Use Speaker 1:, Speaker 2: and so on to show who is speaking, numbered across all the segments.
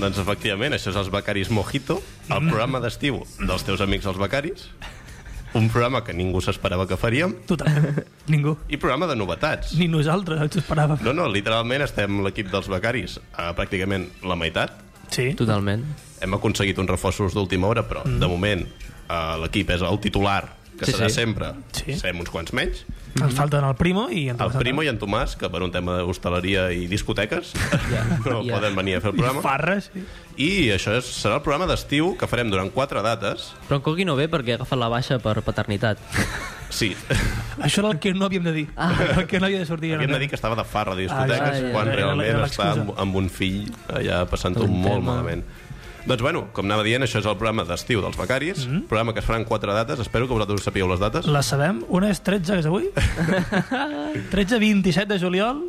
Speaker 1: Doncs efectivament, això és els Becaris Mojito, el programa d'estiu dels teus amics els Becaris, un programa que ningú s'esperava que faríem,
Speaker 2: Totalment. Ningú.
Speaker 1: i programa de novetats.
Speaker 2: Ni nosaltres ens ho esperàvem.
Speaker 1: No, no, literalment estem l'equip dels Becaris a pràcticament la meitat.
Speaker 2: Sí.
Speaker 3: Totalment.
Speaker 1: Hem aconseguit uns reforços d'última hora, però de moment eh, l'equip és el titular, que
Speaker 3: Sí,
Speaker 1: serà
Speaker 3: sí.
Speaker 1: sempre.
Speaker 2: Sí.
Speaker 1: Sem uns quants menys.
Speaker 2: Ens falten el Primo i en
Speaker 1: El
Speaker 2: Tomàs
Speaker 1: Primo i en Tomàs, que per un tema d'hostaleria i discoteques no
Speaker 3: ja.
Speaker 1: poden venir a fer el
Speaker 2: Santana. I
Speaker 1: programa.
Speaker 2: Farra, sí.
Speaker 1: I això és, serà el programa d'estiu que farem durant quatre dates.
Speaker 3: Però en Coqui no ve perquè ha agafat la baixa per paternitat.
Speaker 1: Sí,
Speaker 2: Això era el que no havíem de dir. Ah. El que no havia de sortir.
Speaker 1: havíem de dir que estava de farra de discoteques,
Speaker 3: Ah, ja, ja,
Speaker 1: quan
Speaker 2: ja, ja, era
Speaker 1: realment
Speaker 2: la-
Speaker 1: està amb, amb un fill allà passant-ho
Speaker 3: Tot un
Speaker 1: molt
Speaker 3: tema.
Speaker 1: malament. Doncs bueno, com anava dient, això és el programa d'estiu dels becaris, mm -hmm. programa que es faran quatre dates, espero que vosaltres sapigueu les dates.
Speaker 2: La sabem? Una és 13, que és avui? 13-27 de juliol,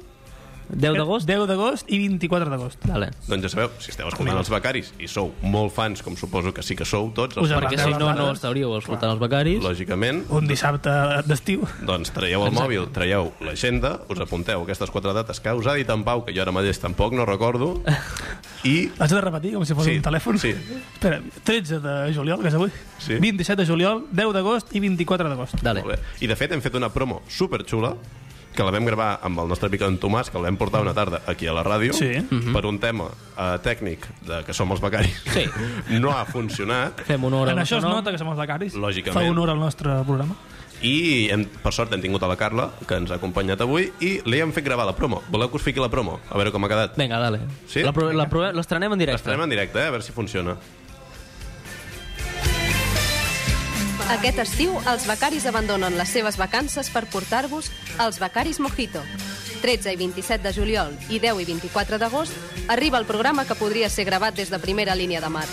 Speaker 3: 10 d'agost?
Speaker 2: 10 d'agost i 24 d'agost.
Speaker 3: Vale.
Speaker 1: Doncs ja sabeu, si esteu escoltant els becaris i sou molt fans, com suposo que sí que sou tots, els
Speaker 2: Us
Speaker 1: becaris,
Speaker 3: Perquè
Speaker 2: Marqueu
Speaker 3: si
Speaker 2: les
Speaker 3: no, no
Speaker 2: dades.
Speaker 3: estaríeu escoltant els becaris.
Speaker 1: lògicament,
Speaker 2: Un dissabte d'estiu.
Speaker 1: doncs traieu el mòbil, traieu l'agenda, us apunteu aquestes quatre dates que us ha dit en Pau, que jo ara mateix tampoc no recordo, i
Speaker 2: Has de repetir com si fos
Speaker 1: Sí,
Speaker 2: un telèfon?
Speaker 1: sí.
Speaker 2: Espera, 13 de juliol, que és avui?
Speaker 1: Sí.
Speaker 2: 27 de juliol, 10 d'agost i 24 d'agost.
Speaker 3: Dale.
Speaker 1: Molt bé. I de fet hem fet una promo superxula que la vam gravar amb el nostre picant Tomàs, que el vam portar una tarda aquí a la ràdio, Mhm.
Speaker 2: Sí.
Speaker 1: per un tema eh, tècnic de que som els becaris.
Speaker 3: Sí.
Speaker 1: No ha funcionat
Speaker 3: Fem honor a
Speaker 2: En això es
Speaker 3: no.
Speaker 2: nota que som els becaris.
Speaker 1: Lògicament.
Speaker 2: Fa honor al nostre programa.
Speaker 1: i hem, per sort hem tingut a la Carla, que ens ha acompanyat avui, i li hem fet gravar la promo. Voleu que us fiqui la promo? A veure com ha quedat.
Speaker 3: Vinga, dale.
Speaker 1: Sí?
Speaker 3: La prove- la prove- L'estrenem en directe.
Speaker 1: Estarem en directe, eh? a veure si funciona.
Speaker 4: Aquest estiu, els becaris abandonen les seves vacances per portar-vos els Becaris Mojito. 13 i 27 de juliol i 10 i 24 d'agost arriba el programa que podria ser gravat des de primera línia de mar.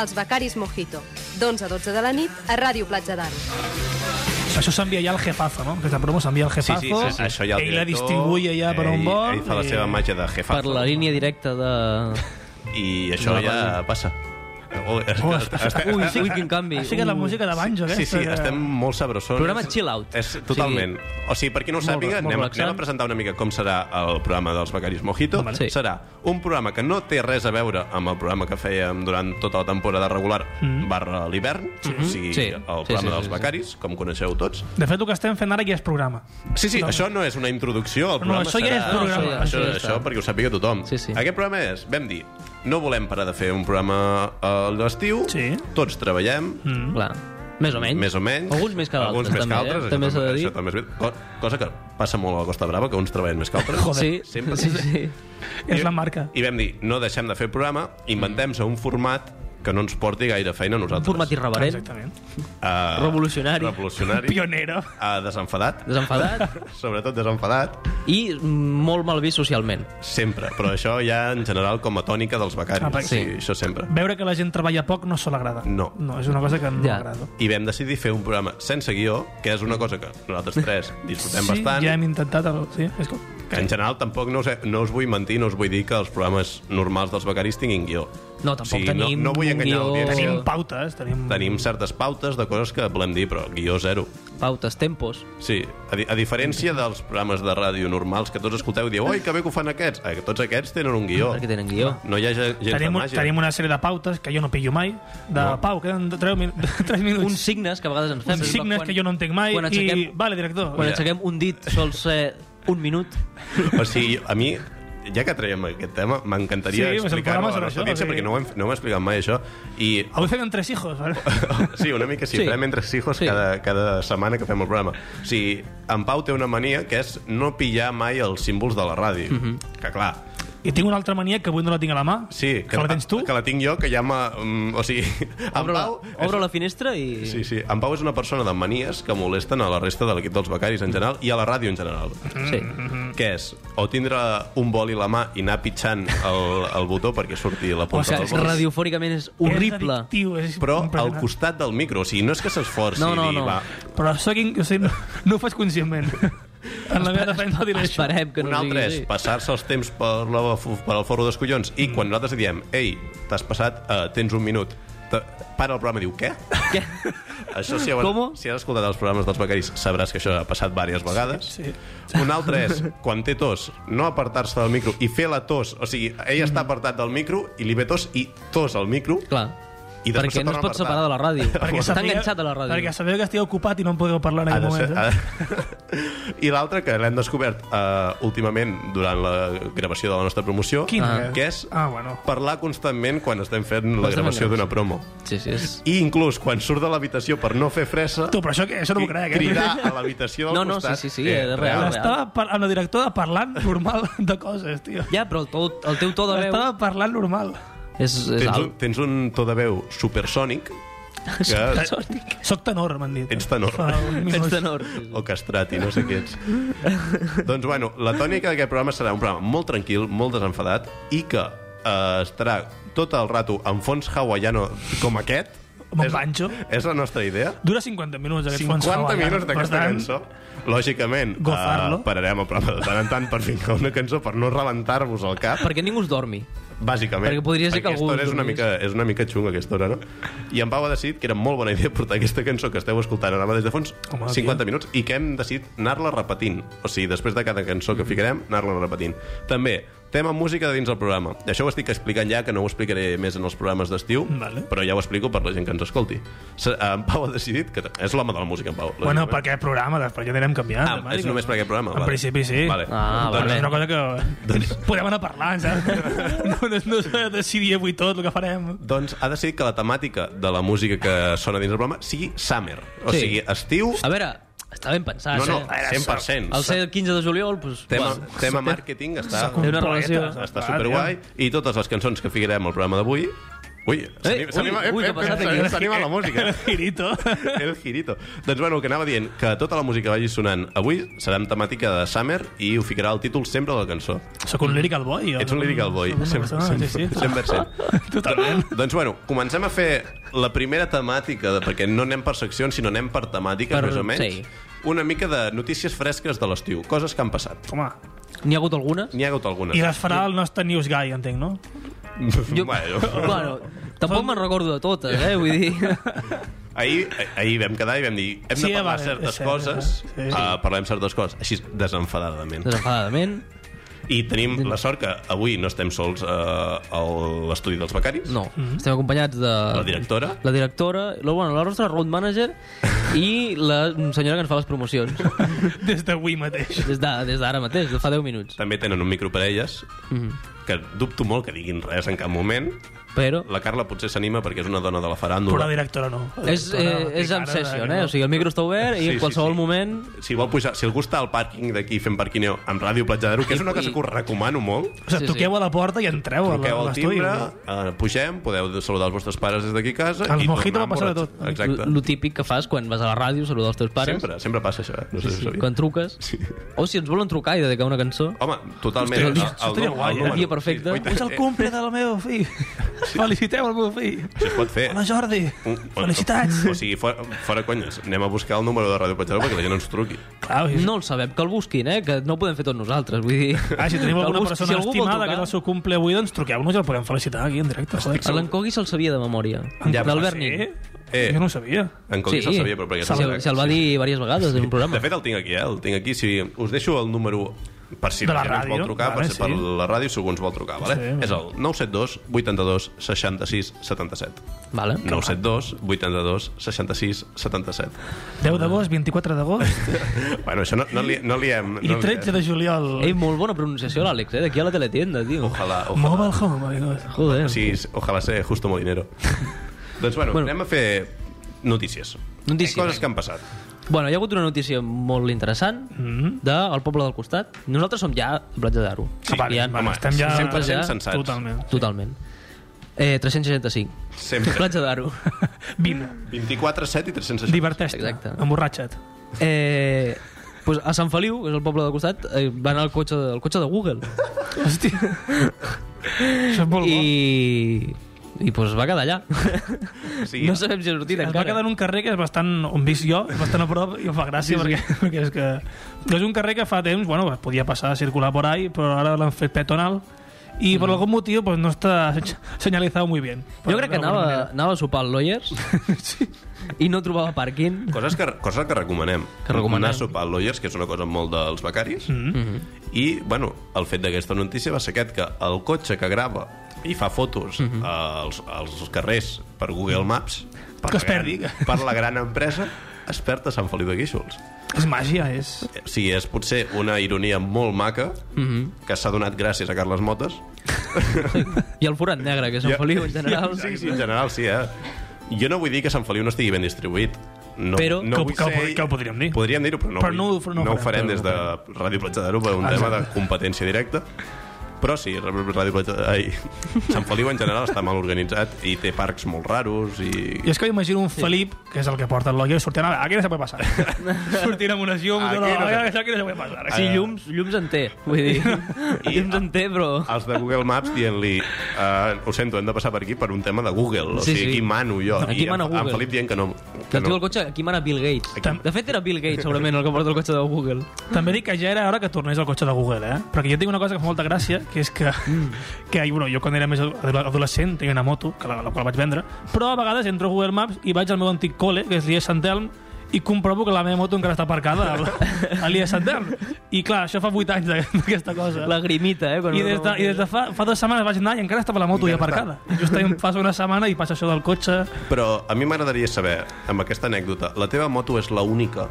Speaker 4: Els Becaris Mojito, d'11 a 12 de la nit a Ràdio Platja d'Aro.
Speaker 2: Això s'envia ja al jefazo, no? Aquesta promo s'envia al jefazo.
Speaker 1: Això ja el
Speaker 2: ell la
Speaker 1: director,
Speaker 2: distribuye ja per on
Speaker 1: ell-
Speaker 2: vol. eh,
Speaker 1: Ell fa la
Speaker 2: i-
Speaker 1: seva màgia de jefazo.
Speaker 3: Per la línia directa de...
Speaker 1: I això
Speaker 3: La
Speaker 1: ja
Speaker 3: ràdio.
Speaker 1: passa. Oh,
Speaker 2: Oh,
Speaker 1: est- est-
Speaker 2: ui,
Speaker 3: ui, quin canvi.
Speaker 2: Així que la
Speaker 3: Ui.
Speaker 2: música de banjo, eh?
Speaker 1: Sí,
Speaker 2: aquesta.
Speaker 1: sí,
Speaker 2: que-
Speaker 1: estem molt sabrosons.
Speaker 3: Programa chill out.
Speaker 1: És, totalment. O sigui, per qui no ho
Speaker 3: Molt
Speaker 1: sàpiga,
Speaker 3: re- molt
Speaker 1: anem,
Speaker 3: relaxant.
Speaker 1: anem a presentar una mica com serà el programa dels Becaris Mojito.
Speaker 3: Vale. Sí.
Speaker 1: Serà un programa que no té res a veure amb el programa que fèiem durant tota la temporada regular barra l'hivern, o sigui,
Speaker 3: Sí.
Speaker 1: el
Speaker 3: Sí,
Speaker 1: programa
Speaker 3: sí, sí,
Speaker 1: dels
Speaker 3: sí, sí.
Speaker 1: Becaris, com coneixeu tots.
Speaker 2: De fet, el que estem fent ara ja és programa.
Speaker 1: Sí, sí, això no és una introducció, el programa
Speaker 2: això ja
Speaker 1: serà...
Speaker 2: és programa,
Speaker 1: No, això,
Speaker 3: això ja
Speaker 1: això,
Speaker 3: està.
Speaker 1: això, perquè ho sàpiga tothom.
Speaker 3: Sí, sí.
Speaker 1: Aquest programa és, vam dir, no volem parar de fer un programa a l'estiu,
Speaker 2: Sí.
Speaker 1: tots treballem,
Speaker 3: Mm. Clar. Més o menys.
Speaker 1: Més o menys.
Speaker 3: Alguns més que d'altres,
Speaker 1: Alguns més
Speaker 3: també.
Speaker 1: que altres.
Speaker 3: eh? també
Speaker 1: això
Speaker 3: s'ha de
Speaker 1: també-
Speaker 3: dir.
Speaker 1: això també és veritat. Co- Cosa que passa molt a la Costa Brava, que uns treballen més que altres.
Speaker 3: Sí,
Speaker 1: Sempre.
Speaker 3: sí, sí.
Speaker 2: És la marca.
Speaker 1: I vam dir, no deixem de fer programa, inventem-se un format que no ens porti gaire feina a
Speaker 3: Un
Speaker 1: nosaltres.
Speaker 3: format irreverent,
Speaker 2: Exactament.
Speaker 1: Eh,
Speaker 3: revolucionari,
Speaker 1: Revolucionari.
Speaker 2: Pionera.
Speaker 1: eh, desenfadat.
Speaker 3: desenfadat
Speaker 1: Sobretot desenfadat.
Speaker 3: i molt mal vist socialment.
Speaker 1: Sempre. Però això ja, en general, com a tònica dels becaris.
Speaker 2: Ah, perquè-
Speaker 1: sí. Això sempre.
Speaker 2: Veure que la gent treballa poc no se l'agrada.
Speaker 1: No.
Speaker 2: No, és una cosa que no
Speaker 3: Ja.
Speaker 2: m'agrada.
Speaker 1: I vam decidir fer un programa sense guió, que és una cosa que nosaltres tres disfrutem
Speaker 2: Sí,
Speaker 1: bastant.
Speaker 2: ja hem intentat... El... Sí, és com...
Speaker 1: Que en general tampoc no us, no us vull mentir, no us vull dir que els programes normals dels becaris tinguin guió.
Speaker 3: No, tampoc tenim
Speaker 1: no, no vull
Speaker 3: un
Speaker 1: enganyar
Speaker 3: guió.
Speaker 1: l'audiència.
Speaker 2: Tenim
Speaker 3: Oh.
Speaker 2: pautes, tenim...
Speaker 1: Tenim certes pautes de coses que volem dir, però guió zero.
Speaker 3: Pautes, tempos...
Speaker 1: Sí, a, di a diferència dels programes de ràdio normals que tots escolteu i dieu oi, que bé que ho fan aquests, eh, que tots aquests tenen un guió.
Speaker 3: Perquè tenen guió.
Speaker 1: No hi ha ge- gens
Speaker 2: Tenim,
Speaker 1: de
Speaker 2: un,
Speaker 1: màgia.
Speaker 2: tenim una sèrie de pautes que jo no pillo mai. De no. Pau, queden 3, min 3 minuts.
Speaker 3: Uns signes que a vegades ens fem.
Speaker 2: Uns
Speaker 3: Sí.
Speaker 2: signes
Speaker 3: Quan-
Speaker 2: que jo no entenc mai.
Speaker 3: Quan
Speaker 2: I...
Speaker 3: aixequem,
Speaker 2: Vale, director.
Speaker 3: quan aixequem un dit sol ser un minut.
Speaker 1: O sigui, a mi, ja que traiem aquest tema, m'encantaria
Speaker 2: Sí, pues el
Speaker 1: explicar-ho
Speaker 2: programa
Speaker 1: a la
Speaker 2: serà
Speaker 1: nostra
Speaker 2: això,
Speaker 1: audiència,
Speaker 2: o sigui-
Speaker 1: perquè no ho, hem, no ho hem explicat mai, això. I
Speaker 2: Avui fem tres hijos, vale?
Speaker 1: Sí, una mica sí, sí.
Speaker 3: Sí.
Speaker 1: farem entre hijos sí.
Speaker 3: Sí.
Speaker 1: cada, cada setmana que fem el programa. O sigui, en Pau té una mania que és no pillar mai els símbols de la ràdio.
Speaker 3: Mhm.
Speaker 1: Mm -hmm. Que clar,
Speaker 2: I tinc una altra mania que avui no la tinc a la mà.
Speaker 1: sí.
Speaker 2: Que, la tens tu?
Speaker 1: Que la tinc jo, que ja m'ha... mm, o sigui, en
Speaker 3: Obro la,
Speaker 1: Pau...
Speaker 3: obro la finestra i...
Speaker 1: Sí, sí. En Pau és una persona de manies que molesten a la resta de l'equip dels becaris en general i a la ràdio en general.
Speaker 3: sí.
Speaker 1: Què és? O tindre un boli a la mà i anar pitjant el, el botó perquè surti la
Speaker 3: O
Speaker 1: punta del
Speaker 3: sigui,
Speaker 1: boli.
Speaker 3: radiofònicament és
Speaker 2: És
Speaker 3: horrible.
Speaker 2: addictiu, és
Speaker 1: Però al
Speaker 2: impressionant.
Speaker 1: costat del micro. O sigui, no és que s'esforci
Speaker 3: No, no,
Speaker 1: i dir,
Speaker 3: no.
Speaker 1: va,
Speaker 2: Però això que, o sigui, no, no ho fas conscientment. En la meva defensa diré això.
Speaker 3: Esperem que
Speaker 1: un
Speaker 3: no sigui
Speaker 1: altre és
Speaker 3: així.
Speaker 1: passar-se els temps per, la, per el forro dels collons i quan nosaltres diem, ei, t'has passat, eh, tens un minut te- para el programa i diu, què?
Speaker 3: Què?
Speaker 1: Això si, heu,
Speaker 3: ¿Cómo?
Speaker 1: si has escoltat els programes dels becaris sabràs que això ha passat diverses vegades.
Speaker 2: Sí,
Speaker 1: Un altre és, quan té tos, no apartar-se del micro i fer la tos. O sigui, ell està apartat del micro i li ve tos i tos al micro
Speaker 3: Clar.
Speaker 1: i després
Speaker 3: perquè
Speaker 1: se
Speaker 3: no
Speaker 1: torna
Speaker 3: es pot
Speaker 1: a
Speaker 3: separar de la
Speaker 1: apartar.
Speaker 3: ràdio. perquè està
Speaker 2: sàpiga-
Speaker 3: enganxat a la ràdio.
Speaker 2: Perquè sabeu que estic ocupat i no em podeu parlar en
Speaker 1: Ha
Speaker 2: aquest
Speaker 1: de
Speaker 2: moment.
Speaker 1: ser,
Speaker 2: eh?
Speaker 1: ha de- I l'altre, que l'hem descobert eh, últimament durant la gravació de la nostra promoció,
Speaker 2: Quin
Speaker 3: Ah.
Speaker 1: que és
Speaker 2: Ah, bueno.
Speaker 1: parlar constantment quan estem fent la
Speaker 3: Constantment
Speaker 1: gravació
Speaker 3: gravació.
Speaker 1: d'una promo.
Speaker 3: Sí, sí, és...
Speaker 1: I inclús quan surt de l'habitació per no fer fressa,
Speaker 2: Tu, però això, què? això no m'ho crec, eh?
Speaker 1: cridar a l'habitació del
Speaker 3: No, no,
Speaker 1: costat.
Speaker 3: sí, sí, sí, és real.
Speaker 2: Estava par- amb la directora parlant normal de coses, tio.
Speaker 3: Ja, però el, to, el teu to de veu
Speaker 2: Estava parlant normal.
Speaker 3: és, és
Speaker 1: Tens un,
Speaker 3: alt.
Speaker 1: tens un to de veu supersònic que
Speaker 2: Soc tenor, m'han dit.
Speaker 1: Ets tenor.
Speaker 2: Fa un minut.
Speaker 3: Tens tenor.
Speaker 1: o castrat i no sé què ets. doncs, bueno, la tònica d'aquest programa serà un programa molt tranquil, molt desenfadat i que eh, estarà tot el rato en fons hawaiano com aquest.
Speaker 2: Amb un
Speaker 1: És-
Speaker 2: banjo.
Speaker 1: És la nostra idea.
Speaker 2: Dura 50 minuts, aquest fons
Speaker 1: 50
Speaker 2: hawaià.
Speaker 1: minuts d'aquesta
Speaker 2: Per tant,
Speaker 1: cançó. Lògicament, eh,
Speaker 2: Gozar-lo.
Speaker 1: pararem el programa de tant en tant per ficar una cançó per no rebentar-vos el cap.
Speaker 3: Perquè ningú es dormi.
Speaker 1: Bàsicament.
Speaker 3: Perquè podria ser que
Speaker 1: aquesta
Speaker 3: algú
Speaker 1: hora és una,
Speaker 3: dormís.
Speaker 1: mica, és una mica xunga, aquesta hora, no? I en Pau ha decidit que era molt bona idea portar aquesta cançó que esteu escoltant ara mateix de fons
Speaker 2: Home,
Speaker 1: 50 minuts i que hem decidit anar-la repetint. O sigui, després de cada cançó que ficarem, anar-la repetint. També, tema música de dins del programa. I això ho estic explicant ja, que no ho explicaré més en els programes d'estiu,
Speaker 2: Vale.
Speaker 1: però ja ho explico per la gent que ens escolti. Se- En Pau ha decidit que... És l'home de la música, en Pau.
Speaker 2: Bueno,
Speaker 1: lògicament.
Speaker 2: per aquest programa, després ja anirem canviant.
Speaker 1: Ah,
Speaker 2: temàtiques.
Speaker 1: és només per aquest programa?
Speaker 2: En
Speaker 1: vale.
Speaker 2: principi, sí.
Speaker 1: Vale.
Speaker 3: Ah,
Speaker 2: Doncs
Speaker 3: vale.
Speaker 2: és una cosa que...
Speaker 1: Doncs-
Speaker 2: Podem anar parlant, saps? No, no, no s'ha de decidir avui tot el que farem.
Speaker 1: Doncs ha decidit que la temàtica de la música que sona dins del programa sigui summer. O
Speaker 3: Sí.
Speaker 1: sigui, estiu...
Speaker 3: A veure, està ben pensat,
Speaker 1: No, no,
Speaker 3: eh?
Speaker 1: 100%.
Speaker 3: El ser el 15 de juliol, doncs...
Speaker 1: tema,
Speaker 3: bueno,
Speaker 1: tema màrqueting està,
Speaker 3: Té una relació.
Speaker 1: està superguai i totes les cançons que ficarem al programa d'avui Ui, s'anima-
Speaker 3: ui,
Speaker 1: s'anima- eh, ep,
Speaker 3: Eh, ui, què
Speaker 1: ep,
Speaker 3: ha passat
Speaker 1: ep,
Speaker 3: aquí?
Speaker 1: s'anima la música.
Speaker 2: Girito.
Speaker 1: El girito. Doncs bueno, el que anava dient, que tota la música que vagi sonant avui serà amb temàtica de Summer i ho ficarà el títol sempre de la cançó.
Speaker 2: Sóc un lyrical boy. jo.
Speaker 1: Ets un lyrical boy.
Speaker 2: Sóc una
Speaker 1: Sempre,
Speaker 2: persona,
Speaker 1: sempre,
Speaker 2: sí, sí.
Speaker 1: 100%.
Speaker 2: Totalment.
Speaker 1: Doncs bueno, comencem a fer la primera temàtica, de, perquè no anem per seccions, sinó anem per temàtiques,
Speaker 3: Per-
Speaker 1: més o menys.
Speaker 3: sí.
Speaker 1: Una mica de notícies fresques de l'estiu, coses que han passat.
Speaker 2: Home,
Speaker 3: N'hi ha hagut algunes?
Speaker 1: N'hi ha hagut algunes.
Speaker 2: i les farà el nostre news guy, entenc, no?
Speaker 3: Jo,
Speaker 1: Bueno.
Speaker 3: bueno, tampoc me'n recordo de totes, eh? Vull dir...
Speaker 1: Ahir, ahir vam quedar i vam dir hem
Speaker 2: Sí,
Speaker 1: de parlar
Speaker 2: vale,
Speaker 1: certes
Speaker 2: és cert,
Speaker 1: coses,
Speaker 2: és cert. Sí.
Speaker 1: uh, parlem certes coses, així desenfadadament.
Speaker 3: Desenfadadament,
Speaker 1: I tenim la sort que avui no estem sols uh, a l'estudi dels becaris.
Speaker 3: no. Estem acompanyats de...
Speaker 1: La directora.
Speaker 3: La directora, la, bueno, la nostra road manager i la senyora que ens fa les promocions.
Speaker 2: Des d'avui mateix.
Speaker 3: Des de- des d'ara mateix, de fa 10 minuts. Mhm.
Speaker 1: També tenen un micro per elles, que dubto molt que diguin res en cap moment.
Speaker 3: Però
Speaker 1: La Carla potser s'anima perquè és una dona de la
Speaker 2: Però la
Speaker 1: faràndula.
Speaker 2: directora no. La
Speaker 3: és,
Speaker 2: directora
Speaker 3: eh, és
Speaker 2: té
Speaker 3: en
Speaker 2: cara de
Speaker 3: session,
Speaker 2: que
Speaker 3: eh?
Speaker 2: no.
Speaker 3: O sigui, el micro està obert
Speaker 1: Sí,
Speaker 3: i
Speaker 1: sí,
Speaker 3: en qualsevol
Speaker 1: sí.
Speaker 3: moment...
Speaker 1: Si, vol pujar, si algú està al pàrquing d'aquí fent parquineo amb Ràdio Platjadero, que és una
Speaker 3: I-
Speaker 1: cosa que us recomano molt,
Speaker 2: O sigui,
Speaker 3: Sí, sí.
Speaker 2: toqueu a la porta i entreu a
Speaker 1: truqueu al
Speaker 2: l'estudi.
Speaker 1: timbre, eh, pugem, podeu saludar els vostres pares des d'aquí a casa.
Speaker 2: Al
Speaker 1: i
Speaker 2: Mojito
Speaker 1: tornar
Speaker 2: va passar de
Speaker 1: emborratxats.
Speaker 2: tot.
Speaker 1: Exacte.
Speaker 3: Lo típic que fas quan vas a la ràdio, saludar els teus pares.
Speaker 1: Sempre, sempre passa això. eh? No sé si
Speaker 3: Sí,
Speaker 1: ho
Speaker 3: sí,
Speaker 1: sabies.
Speaker 3: quan truques. O si ens volen trucar i dedicar una cançó.
Speaker 1: Home, totalment. El-
Speaker 3: Hòstia,
Speaker 1: el-
Speaker 2: estaria
Speaker 1: el-
Speaker 2: guai,
Speaker 1: el
Speaker 2: eh?
Speaker 1: número.
Speaker 3: Dia perfecte.
Speaker 1: Sí, oita,
Speaker 2: És el
Speaker 1: eh,
Speaker 2: cumple de la meva fill. Feliciteu el meu fill.
Speaker 1: Si es pot fer.
Speaker 2: Hola, Jordi.
Speaker 1: Eh. Un- o-
Speaker 2: Felicitats.
Speaker 1: O sigui, fora, fora conyes, anem a buscar el número de Ràdio Patxaró perquè la gent ens truqui.
Speaker 2: Clar, és-
Speaker 3: No el sabem, que el busquin, eh? Que no ho podem fer tot nosaltres, vull dir...
Speaker 2: Ah, si tenim
Speaker 3: Que el
Speaker 2: alguna
Speaker 3: busqui,
Speaker 2: persona
Speaker 3: algú vol
Speaker 2: estimada que
Speaker 3: trucar.
Speaker 2: és el seu cumple avui, doncs truqueu-nos i el podem felicitar aquí en directe. Joder.
Speaker 3: A l'Encogui se'l sabia de memòria.
Speaker 1: Ja, però
Speaker 3: D'Albert
Speaker 2: Sí?
Speaker 3: Nin.
Speaker 1: Eh.
Speaker 2: Eh. Jo no ho sabia.
Speaker 1: En Coqui
Speaker 3: Sí.
Speaker 1: se'l sabia, però perquè...
Speaker 3: Se'l
Speaker 1: no sé.
Speaker 3: se'l va dir diverses vegades en un programa.
Speaker 1: De fet, el tinc aquí, eh? El tinc aquí. Si us deixo el número per si
Speaker 2: De
Speaker 1: la
Speaker 2: la
Speaker 1: gent ens vol
Speaker 2: ràdio,
Speaker 1: trucar,
Speaker 2: vale,
Speaker 1: per, si per
Speaker 2: sí.
Speaker 1: la ràdio, si algú ens vol trucar, vale?
Speaker 2: Sí, vale.
Speaker 1: És el 972 82 66 77.
Speaker 3: Vale.
Speaker 1: 972 82 66 77.
Speaker 2: 10 d'agost, 24 d'agost
Speaker 1: Bueno, això no, no, li, no li hem...
Speaker 2: i
Speaker 1: no li-
Speaker 2: 13 de juliol.
Speaker 3: Ei, molt bona pronunciació, l'Àlex, eh? D'aquí a la teletienda, tio.
Speaker 1: Ojalà, ojalà.
Speaker 2: Mobile Home, amigos.
Speaker 3: Joder.
Speaker 1: Sí, sí, ojalá sea justo molinero. doncs bueno,
Speaker 3: Bueno.
Speaker 1: bueno, anem a fer notícies.
Speaker 3: Notícies.
Speaker 1: Eh, Coses que han passat.
Speaker 3: Bueno, hi ha hagut una notícia molt interessant del poble del costat. Nosaltres som ja a Platja d'Aro.
Speaker 1: Mhm. Sí,
Speaker 3: Vale,
Speaker 1: ja,
Speaker 2: Vale,
Speaker 1: home,
Speaker 2: estem ja...
Speaker 3: sempre ja-
Speaker 1: sensats.
Speaker 2: Totalment.
Speaker 3: Totalment. Eh, 365.
Speaker 1: Sempre.
Speaker 3: Platja d'Aro.
Speaker 2: Vine,
Speaker 1: 24, 7 i 360.
Speaker 2: diverteix-te,
Speaker 3: Exacte.
Speaker 2: emborratxa't.
Speaker 3: Eh, pues a Sant Feliu, que és el poble del costat, eh, va anar el cotxe, el cotxe de Google.
Speaker 2: Hòstia. Això és molt bo.
Speaker 3: I... I pues va quedar allà.
Speaker 1: Sí.
Speaker 3: No sabem si ha sortit
Speaker 2: Es va
Speaker 3: encara.
Speaker 2: quedar en un carrer que és bastant on visc jo, és bastant a prop i em fa gràcia sí, perquè, perquè és que és un carrer que fa temps, bueno, es podia passar a circular por ahí, però ara l'han fet peatonal y por algún motivo pues no está señalizado muy bien.
Speaker 3: Jo crec que anava, anava a sopar al Lawyers i no trobava pàrquing.
Speaker 1: Coses que, coses que recomanem.
Speaker 3: Que recomanem.
Speaker 1: Anar a sopar al Lawyers, que és una cosa molt dels becaris. Mm -hmm. I, bueno, el fet d'aquesta notícia va ser aquest, que el cotxe que grava i fa fotos mm -hmm. als, als carrers per Google Maps, per,
Speaker 2: Que
Speaker 1: la
Speaker 2: es perd.
Speaker 1: gran, per la gran empresa, es perd a Sant Feliu de Guíxols.
Speaker 2: És màgia, és...
Speaker 1: O sigui, és potser una ironia molt maca mm -hmm. que s'ha donat gràcies a Carles Motes.
Speaker 3: I el forat negre, que és Sant Feliu en general.
Speaker 1: Sí, sí, en general sí, eh? Jo no vull dir que Sant Feliu no estigui ben distribuït. No,
Speaker 3: Però
Speaker 1: no
Speaker 2: que ho-
Speaker 1: vull
Speaker 2: que ho- que ho podríem dir.
Speaker 1: Podríem dir-ho, però no,
Speaker 2: Però
Speaker 1: vull-
Speaker 2: no ho- no ho
Speaker 1: no ho farem
Speaker 2: farem, però
Speaker 1: des
Speaker 2: no
Speaker 1: de Ràdio Platja d'Aro per un tema de competència directa. Però sí, Ràdio Platja... Ai, Sant Feliu en general està mal organitzat i té parcs molt raros i...
Speaker 2: Jo és que m'imagino un sí. Felip, que és el que porta el logo, i sortint a... Aquí no se puede pasar. sortint amb unes llums...
Speaker 1: Aquí
Speaker 2: Aquí
Speaker 1: no
Speaker 2: no,
Speaker 1: se-
Speaker 2: aquí no se puede pasar.
Speaker 3: Sí, llums, llums en té, vull dir.
Speaker 1: I-
Speaker 3: llums en té, però...
Speaker 2: Ah,
Speaker 1: Els de Google Maps dient-li uh, ho sento, hem de passar per aquí per un tema de Google. O
Speaker 3: Sí,
Speaker 1: sigui,
Speaker 3: sí.
Speaker 1: aquí mano jo.
Speaker 3: Aquí
Speaker 1: I
Speaker 3: mana
Speaker 1: en,
Speaker 3: Google.
Speaker 1: en Felip dient que no...
Speaker 3: Que
Speaker 1: Que
Speaker 3: el tio
Speaker 1: no.
Speaker 3: del cotxe, aquí mana Bill Gates.
Speaker 1: Aquí.
Speaker 3: De fet, era Bill Gates, segurament, el que porta el cotxe de Google.
Speaker 2: També dic que ja era hora que tornés al cotxe de Google, eh? Perquè jo tinc una cosa que fa molta gràcia, que és que, mm. que bueno, jo quan era més adolescent tenia una moto, que la, la qual vaig vendre, però a vegades entro a Google Maps i vaig al meu antic col·le, que és l'IES Sant Elm, i comprovo que la meva moto encara està aparcada a- a l'IES Sant Elm. I clar, això fa 8 anys d'aqu- d'aquesta cosa.
Speaker 3: La grimita, eh? quan
Speaker 2: I
Speaker 3: no-
Speaker 2: des de, i des de fa, fa dues setmanes vaig anar i encara estava la moto ja
Speaker 1: Encara
Speaker 2: aparcada. Justament passa una setmana i passa això del cotxe.
Speaker 1: Però a mi m'agradaria saber, amb aquesta anècdota, la teva moto és la única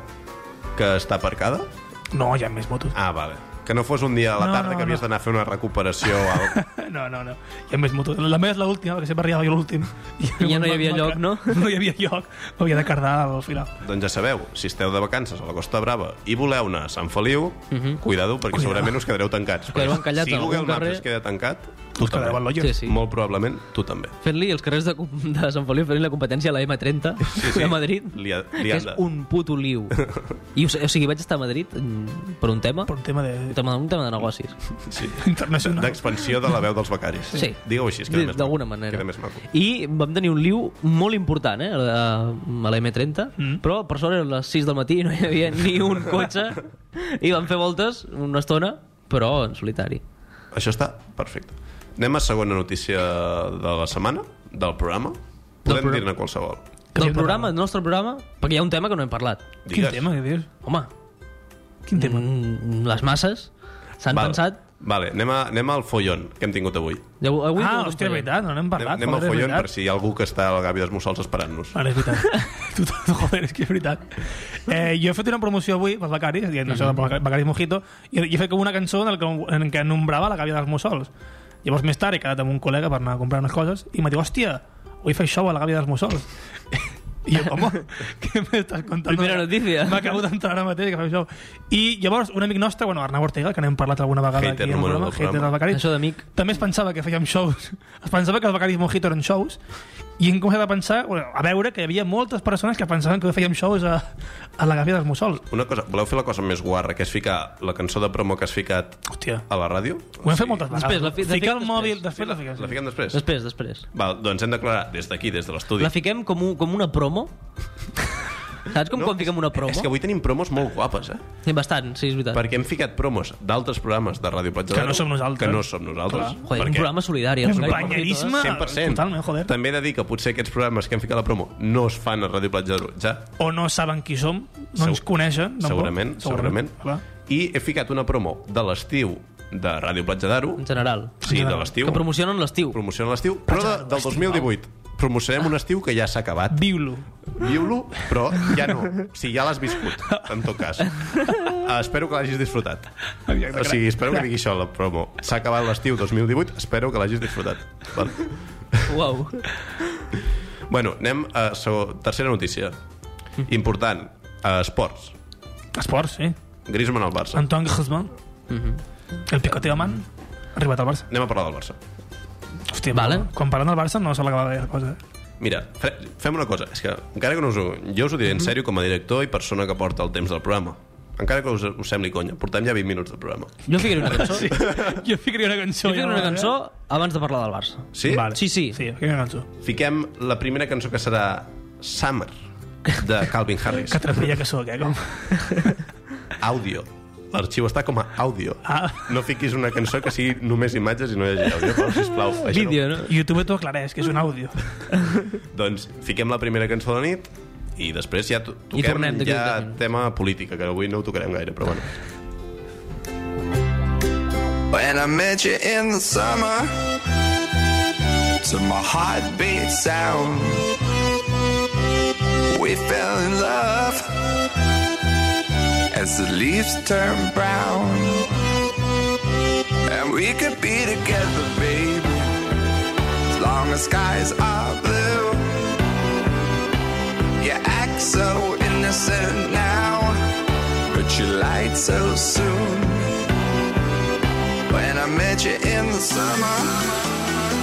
Speaker 1: que està aparcada?
Speaker 2: No, hi ha més motos.
Speaker 1: Ah, vale. Que no fos un dia a la
Speaker 2: No,
Speaker 1: tarda
Speaker 2: no,
Speaker 1: que havies
Speaker 2: no.
Speaker 1: d'anar a fer una recuperació o alguna cosa.
Speaker 2: No, no, no. Hi ha més motos. La meva és l'última, perquè sempre arribava jo l'últim.
Speaker 3: I ja no hi havia lloc, no?
Speaker 2: No hi havia lloc. M'havia de cardar al final.
Speaker 1: Doncs ja sabeu, si esteu de vacances a la Costa Brava i voleu anar a Sant Feliu, cuidado, perquè segurament us quedareu tancats.
Speaker 3: Mhm. quedareu
Speaker 1: Perquè
Speaker 3: encallats
Speaker 1: si
Speaker 3: en algun
Speaker 1: Google Maps
Speaker 3: carrer.
Speaker 1: es queda tancat, tu
Speaker 2: Us quedareu al
Speaker 1: també.
Speaker 2: lollo.
Speaker 3: Sí, sí.
Speaker 1: Molt probablement tu també.
Speaker 3: Fent-li els carrers de, de Sant Feliu, fent-li la competència a la M30 sí,
Speaker 1: sí.
Speaker 3: sí. de Madrid,
Speaker 1: Li ha- li
Speaker 3: que és
Speaker 1: han de-
Speaker 3: un puto liu. I, o sigui- o sigui, vaig estar a Madrid mm, per un tema,
Speaker 2: Per un tema de...
Speaker 3: un tema, un tema de negocis.
Speaker 1: Sí.
Speaker 2: Internacional.
Speaker 1: D'expansió de la veu dels becaris.
Speaker 3: Sí.
Speaker 1: Digue-ho així, es queda
Speaker 3: Di-
Speaker 1: més
Speaker 3: D'alguna
Speaker 1: maco.
Speaker 3: manera.
Speaker 1: Queda més maco.
Speaker 3: I vam tenir un liu molt important, eh, a, a la M30, mm. però per sort eren les 6 del matí i no hi havia ni un cotxe, i vam fer voltes una estona, però en solitari.
Speaker 1: Això està perfecte. Anem a segona notícia de la setmana, del programa. Podem
Speaker 3: programa.
Speaker 1: dir-ne qualsevol.
Speaker 2: Que
Speaker 3: Del
Speaker 2: hem
Speaker 3: programa,
Speaker 2: parlat.
Speaker 3: del nostre programa, perquè hi ha un tema que no hem parlat.
Speaker 2: Quin tema, què dius?
Speaker 3: Home,
Speaker 2: Quin tema?
Speaker 3: mm, les masses s'han
Speaker 1: Val.
Speaker 3: pensat...
Speaker 1: Vale, anem, a, anem al follon que hem tingut avui.
Speaker 3: Ja, avui
Speaker 2: ah,
Speaker 3: no
Speaker 2: hòstia, és veritat, no n'hem
Speaker 1: Anem,
Speaker 2: parlat.
Speaker 1: anem al
Speaker 2: joder, és
Speaker 1: follon
Speaker 2: veritat. Ah.
Speaker 1: per si hi ha algú que està al Gavi dels Mussols esperant-nos.
Speaker 2: Vale, és veritat. tu, tu, joder, és que és veritat. Eh, jo he fet una promoció avui pels Becaris, dient això
Speaker 1: Mm-hmm.
Speaker 2: de Becaris Mojito, i he fet com una cançó en, el que, en què nombrava la gàbia dels mussols. Llavors, més tard, he quedat amb un col·lega per anar a comprar unes coses i m'ha dit, hòstia, vull fer show a la gàbia dels mussols. I jo, com? Què m'estàs contant?
Speaker 3: Primera notícia.
Speaker 2: M'ha acabut d'entrar ara mateix que fa això. I llavors, un amic nostre, bueno, Arnau Ortega, que n'hem parlat alguna vegada
Speaker 1: Hater
Speaker 2: aquí en el
Speaker 1: número
Speaker 2: programa,
Speaker 1: del programa.
Speaker 2: hater del Becari,
Speaker 3: Això d'amic.
Speaker 2: també es pensava que fèiem shows. Es pensava que el Becaris Mojito eren shows i hem començat a pensar, bueno, a veure que hi havia moltes persones que pensaven que fèiem shows a, a la Gàbia dels Mussols.
Speaker 1: Una cosa, voleu fer la cosa més guarra, que és ficar la cançó de promo que has ficat
Speaker 2: Hòstia.
Speaker 1: a la ràdio?
Speaker 2: Ho hem fet moltes vegades.
Speaker 3: Després, la fi- la
Speaker 2: Ficar
Speaker 3: fic
Speaker 2: el mòbil,
Speaker 3: després.
Speaker 2: després la fiquem.
Speaker 1: La fiquem després?
Speaker 3: Després, després.
Speaker 1: Val, doncs hem d'aclarar des d'aquí, des de l'estudi.
Speaker 3: La fiquem com, un, com una promo? Saps com no, quan fiquem una promo?
Speaker 1: És que avui tenim promos molt guapes, eh?
Speaker 3: Sí, bastant, sí, és veritat.
Speaker 1: Perquè hem ficat promos d'altres programes de Ràdio Platja
Speaker 2: Ah. Que
Speaker 1: d'Aro
Speaker 2: no som nosaltres.
Speaker 1: Que no som nosaltres.
Speaker 3: Joder, un
Speaker 1: perquè
Speaker 3: programa solidari.
Speaker 2: És
Speaker 3: el Becaris
Speaker 2: banyerisme.
Speaker 3: Mojito, eh?
Speaker 1: 100%.
Speaker 2: Totalment, joder.
Speaker 1: També he de dir que potser aquests programes que hem ficat a la promo no es fan a Ràdio Platja d'Aro, ja.
Speaker 2: O no saben qui som, no ens
Speaker 1: Segur-
Speaker 2: coneixen. tampoc.
Speaker 1: Segurament, segurament.
Speaker 2: Clar.
Speaker 1: I he ficat una promo de l'estiu de Ràdio Platja d'Aro.
Speaker 3: En general.
Speaker 1: Sí, de l'estiu.
Speaker 3: Que promocionen l'estiu.
Speaker 1: Promociona l'estiu, però de, del 2018. Promocionem un estiu que ja s'ha acabat.
Speaker 2: Viu-lo.
Speaker 1: Viu-lo, però ja no. O sigui, ja l'has viscut, en tot cas. Eh, espero que l'hagis disfrutat. O sigui, espero que digui això la promo. S'ha acabat l'estiu 2018, espero que l'hagis disfrutat. Val.
Speaker 3: Uau.
Speaker 1: Bueno, anem a segon, tercera notícia. Important. A esports.
Speaker 2: Esports, sí.
Speaker 1: Griezmann al Barça.
Speaker 2: Antoine Griezmann. Mhm. El picoteo man. Ha arribat al Barça.
Speaker 1: Anem a parlar del Barça.
Speaker 2: Hòstia,
Speaker 3: Vale.
Speaker 2: però quan parlen del Barça no se l'acaba bé la cosa. eh?
Speaker 1: Mira, fe, fem una cosa. És que encara que no us ho... Jo us ho diré en sèrio com a director i persona que porta el temps del programa. Encara que us, us sembli conya. Portem ja 20 minuts del programa.
Speaker 3: Jo ficaré una cançó. Sí.
Speaker 2: Jo ficaria una cançó.
Speaker 3: Jo ficaré una cançó abans de parlar del Barça.
Speaker 1: Sí?
Speaker 2: Vale.
Speaker 3: Sí, sí.
Speaker 2: Sí, ficaria una cançó.
Speaker 1: Fiquem la primera cançó que serà Summer de Calvin Harris.
Speaker 2: Que trapella que sóc, eh? Com...
Speaker 1: Àudio. l'arxiu està com a àudio.
Speaker 2: Ah.
Speaker 1: No fiquis una cançó que sigui només imatges i no hi hagi àudio, però, sisplau. això
Speaker 3: Vídeo, no?
Speaker 2: YouTube t'ho aclareix, que és un àudio.
Speaker 1: Doncs fiquem la primera cançó de la nit i després ja to- toquem
Speaker 3: I tornem d'aquí un
Speaker 1: ja
Speaker 3: moment.
Speaker 1: tema política, que avui no ho tocarem gaire, però bueno.
Speaker 5: When I met you in the summer, to my heartbeat sound, we fell in love as the leaves turn brown, and we could be together, baby, as long as skies are blue. You act so innocent now, but you lied so soon. When I met you in the summer.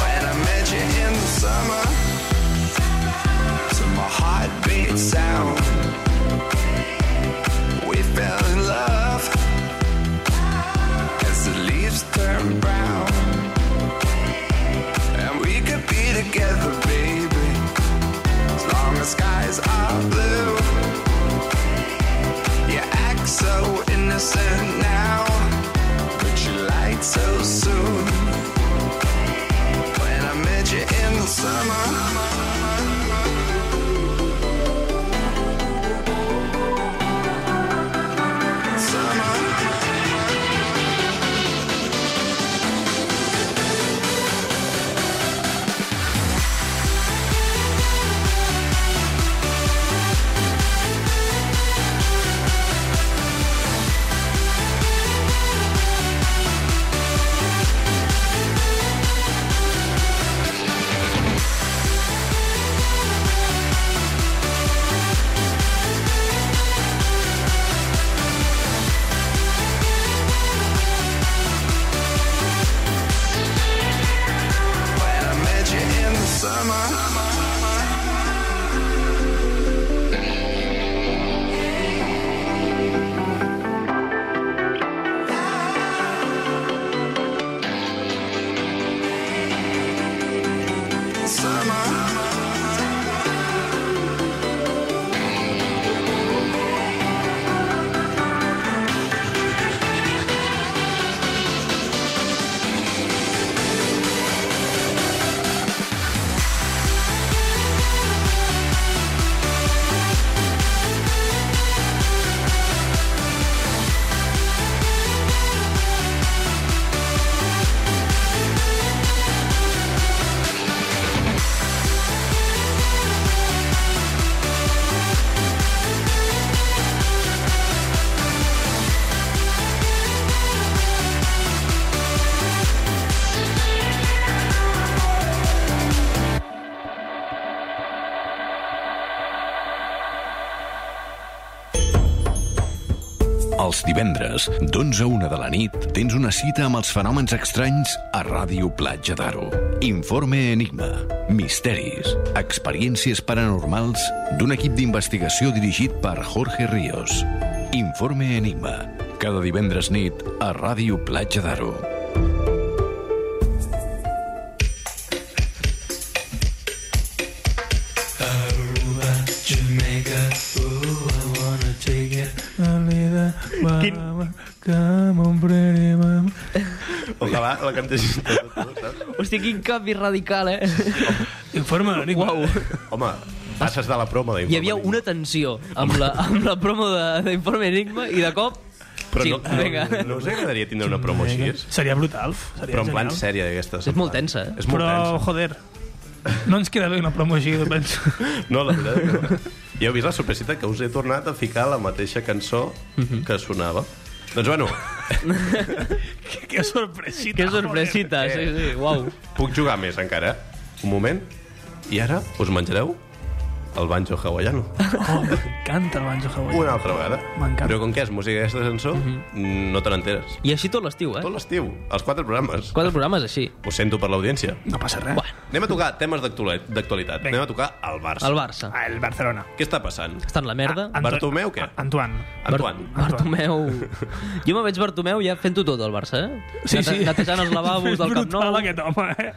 Speaker 5: When I met you in the summer, to my heartbeat sound, we fell in love as the leaves turn brown, and we could be together, baby, as long as skies are blue. You act so innocent now, but you lied so soon. When I met you in the summer. Summer. When I met you in the summer. Summer.
Speaker 6: Els divendres, d'11 a 1 de la nit, tens una cita amb els fenòmens estranys a Ràdio Platja d'Aro. Informe Enigma, misteris, experiències paranormals d'un equip d'investigació dirigit per Jorge Ríos. Informe Enigma, cada divendres nit a Ràdio Platja d'Aro.
Speaker 2: Quin... Come on, pretty mama.
Speaker 1: Ojalà la cantessin tot, tot, saps?
Speaker 3: Hòstia, quin canvi radical, eh?
Speaker 2: Informa, Enigma.
Speaker 3: Uau.
Speaker 1: Home, passes de la promo d'informatiu.
Speaker 3: Hi havia una tensió amb la, amb la promo de- d'Informe Enigma i de cop...
Speaker 1: Però
Speaker 3: sí,
Speaker 1: no,
Speaker 3: vinga.
Speaker 1: no, no us agradaria tindre una promo així? És?
Speaker 2: Seria brutal. Seria
Speaker 1: Però en plan
Speaker 2: genial.
Speaker 1: sèria d'aquestes.
Speaker 3: És molt tensa, eh?
Speaker 1: És molt
Speaker 2: Però,
Speaker 1: Però...
Speaker 2: joder, no ens queda bé una promo així, jo penso.
Speaker 1: tensa. No, la veritat és que no. Jo he vist la sorpresita que us he
Speaker 3: Mhm.
Speaker 1: tornat a ficar la mateixa cançó que sonava. Doncs bueno,
Speaker 2: Que sorpresita.
Speaker 3: Que sorpresita, sí,
Speaker 1: joder.
Speaker 3: sí, uau.
Speaker 1: Puc jugar més encara? eh? Un moment. I ara us menjareu el banjo hawaiano.
Speaker 2: Oh, m'encanta el banjo hawaià.
Speaker 1: Una altra vegada.
Speaker 2: M'encanta. Mhm.
Speaker 1: Però com que és música aquesta cançó, no te n'enteres.
Speaker 3: I així tot l'estiu, eh?
Speaker 1: Tot l'estiu, els quatre programes.
Speaker 3: Quatre programes així.
Speaker 1: Ho sento per l'audiència.
Speaker 2: No passa res.
Speaker 3: Bueno.
Speaker 1: Anem a tocar temes d'actuali- d'actualitat.
Speaker 2: Vinga.
Speaker 1: Anem a tocar el Barça.
Speaker 3: El Barça.
Speaker 2: Ah, el Barcelona.
Speaker 1: Què està passant?
Speaker 3: Està en la merda.
Speaker 2: Anto-
Speaker 1: Bartomeu, què?
Speaker 2: Antoine.
Speaker 1: Antoine.
Speaker 2: Bar-
Speaker 3: Bartomeu... Jo me veig Bartomeu ja fent-ho tot al Barça, eh?
Speaker 2: Sí,
Speaker 3: Nete-
Speaker 2: sí.
Speaker 3: Netejant els lavabos del Camp Nou.
Speaker 2: Brutal aquest home, eh?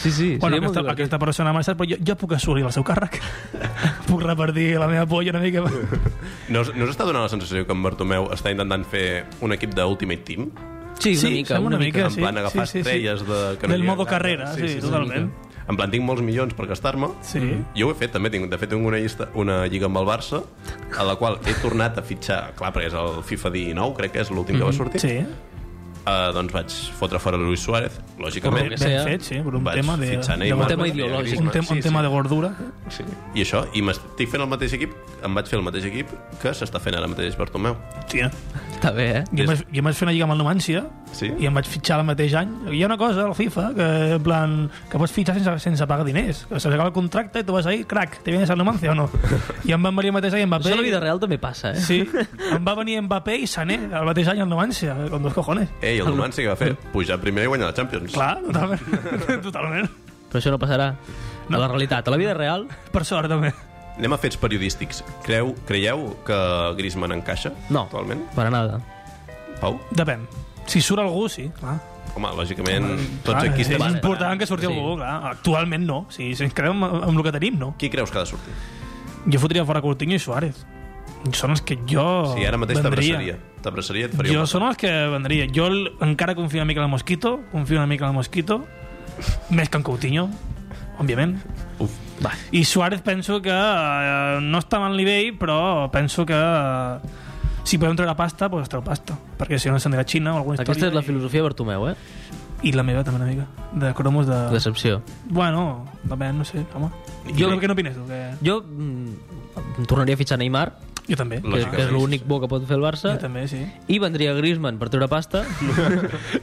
Speaker 3: Sí, sí. seria
Speaker 2: Bueno,
Speaker 3: molt
Speaker 2: aquesta,
Speaker 3: divertit.
Speaker 2: aquesta persona ha marxat, però jo, jo puc assolir el seu càrrec. puc repartir la meva polla una mica.
Speaker 1: No, us- no us està donant la sensació que en Bartomeu està intentant fer un equip d'Ultimate Team?
Speaker 3: Sí,
Speaker 2: Sí,
Speaker 3: una mica,
Speaker 2: sembla
Speaker 3: una
Speaker 2: una
Speaker 3: mica.
Speaker 2: mica.
Speaker 1: en plan agafar
Speaker 2: sí, sí, sí.
Speaker 1: estrelles de...
Speaker 2: Del
Speaker 1: hi ha
Speaker 2: modo
Speaker 1: gaire.
Speaker 2: carrera, sí, totalment.
Speaker 1: En plan, tinc molts milions per gastar-me.
Speaker 2: Sí.
Speaker 1: Jo ho he fet, també. Tinc, de fet, tinc una, llista, una lliga amb el Barça, a la qual he tornat a fitxar, clar, perquè és el FIFA 19, crec que és l'últim que va sortir.
Speaker 2: Mhm, Sí.
Speaker 1: Eh, doncs vaig fotre fora Luis Suárez,
Speaker 3: Correcte.
Speaker 1: lògicament.
Speaker 3: que
Speaker 2: Ben
Speaker 3: sea.
Speaker 2: fet, sí, per un
Speaker 1: Vaig
Speaker 2: tema de...
Speaker 1: fitxar
Speaker 2: de
Speaker 1: Neymar,
Speaker 2: un tema
Speaker 3: Un tema
Speaker 2: ideològic.
Speaker 3: ideològic.
Speaker 2: Un, tema, un
Speaker 1: Sí,
Speaker 2: tema
Speaker 1: sí.
Speaker 2: de gordura.
Speaker 1: Sí. I això, i m'estic fent el mateix equip, em vaig fer el mateix equip que s'està fent ara mateix Bartomeu.
Speaker 2: Tia.
Speaker 3: Està bé, eh?
Speaker 2: Jo em vaig, jo em vaig fer una lliga amb el Numancia
Speaker 1: Sí?
Speaker 2: i em vaig fitxar el mateix any. Hi ha una cosa al FIFA que, en plan, que pots fitxar sense, sense pagar diners. Que se t'acaba el contracte i tu vas ahí, crac, te vienes al Numancia o no? I em van venir el mateix any Mbappé.
Speaker 3: Això a la vida real també passa, eh?
Speaker 2: Sí, em va venir Mbappé i Sané el mateix any al Numancia, con dos cojones.
Speaker 1: Ei, Eh, el Domán sí que va fer pujar primer i guanyar la Champions.
Speaker 2: Ah, Clar, totalment. totalment.
Speaker 3: Però això no passarà a la realitat. A la vida real,
Speaker 2: Per sort, també.
Speaker 1: Anem a fets periodístics. Creu, creieu que Griezmann encaixa
Speaker 3: no.
Speaker 1: actualment?
Speaker 3: Per a nada.
Speaker 1: Pau?
Speaker 2: Depèn. Si surt algú, sí, clar.
Speaker 1: Home, lògicament, tots
Speaker 2: clar,
Speaker 1: aquí
Speaker 2: és
Speaker 1: estem...
Speaker 3: vale.
Speaker 2: important que surti
Speaker 3: Sí.
Speaker 2: algú, clar. Actualment no. Si, si ens quedem amb, amb el que tenim, no.
Speaker 1: Qui creus que ha de sortir?
Speaker 2: Jo fotria fora Coutinho i Suárez. Són els que jo
Speaker 1: Si ara mateix
Speaker 2: vendria.
Speaker 1: t'abraçaria. T'abraçaria i et faria
Speaker 2: Oh, Jo
Speaker 1: un petó.
Speaker 2: són els que vendria. Jo el- encara confio una mica en el Mosquito, confio una mica en el Mosquito, més que en Coutinho, òbviament.
Speaker 1: Uf.
Speaker 3: Va.
Speaker 2: I Suárez penso que eh, no està mal nivell, però penso que eh, si podem treure pasta, doncs treu pasta. Perquè si no se'n dirà Xina o alguna
Speaker 3: Aquesta
Speaker 2: història.
Speaker 3: és la filosofia de Bartomeu, eh?
Speaker 2: I, I la meva també una mica. De cromos de...
Speaker 3: Decepció.
Speaker 2: Bueno, també, no sé, home. Jo, què n'opines tu? Que...
Speaker 3: Jo mm, tornaria a fitxar Neymar,
Speaker 2: Jo també.
Speaker 1: La-
Speaker 3: que,
Speaker 1: Lògicament.
Speaker 3: que és l'únic bo que pot fer el Barça,
Speaker 2: Jo també, sí.
Speaker 3: i vendria Griezmann per treure pasta.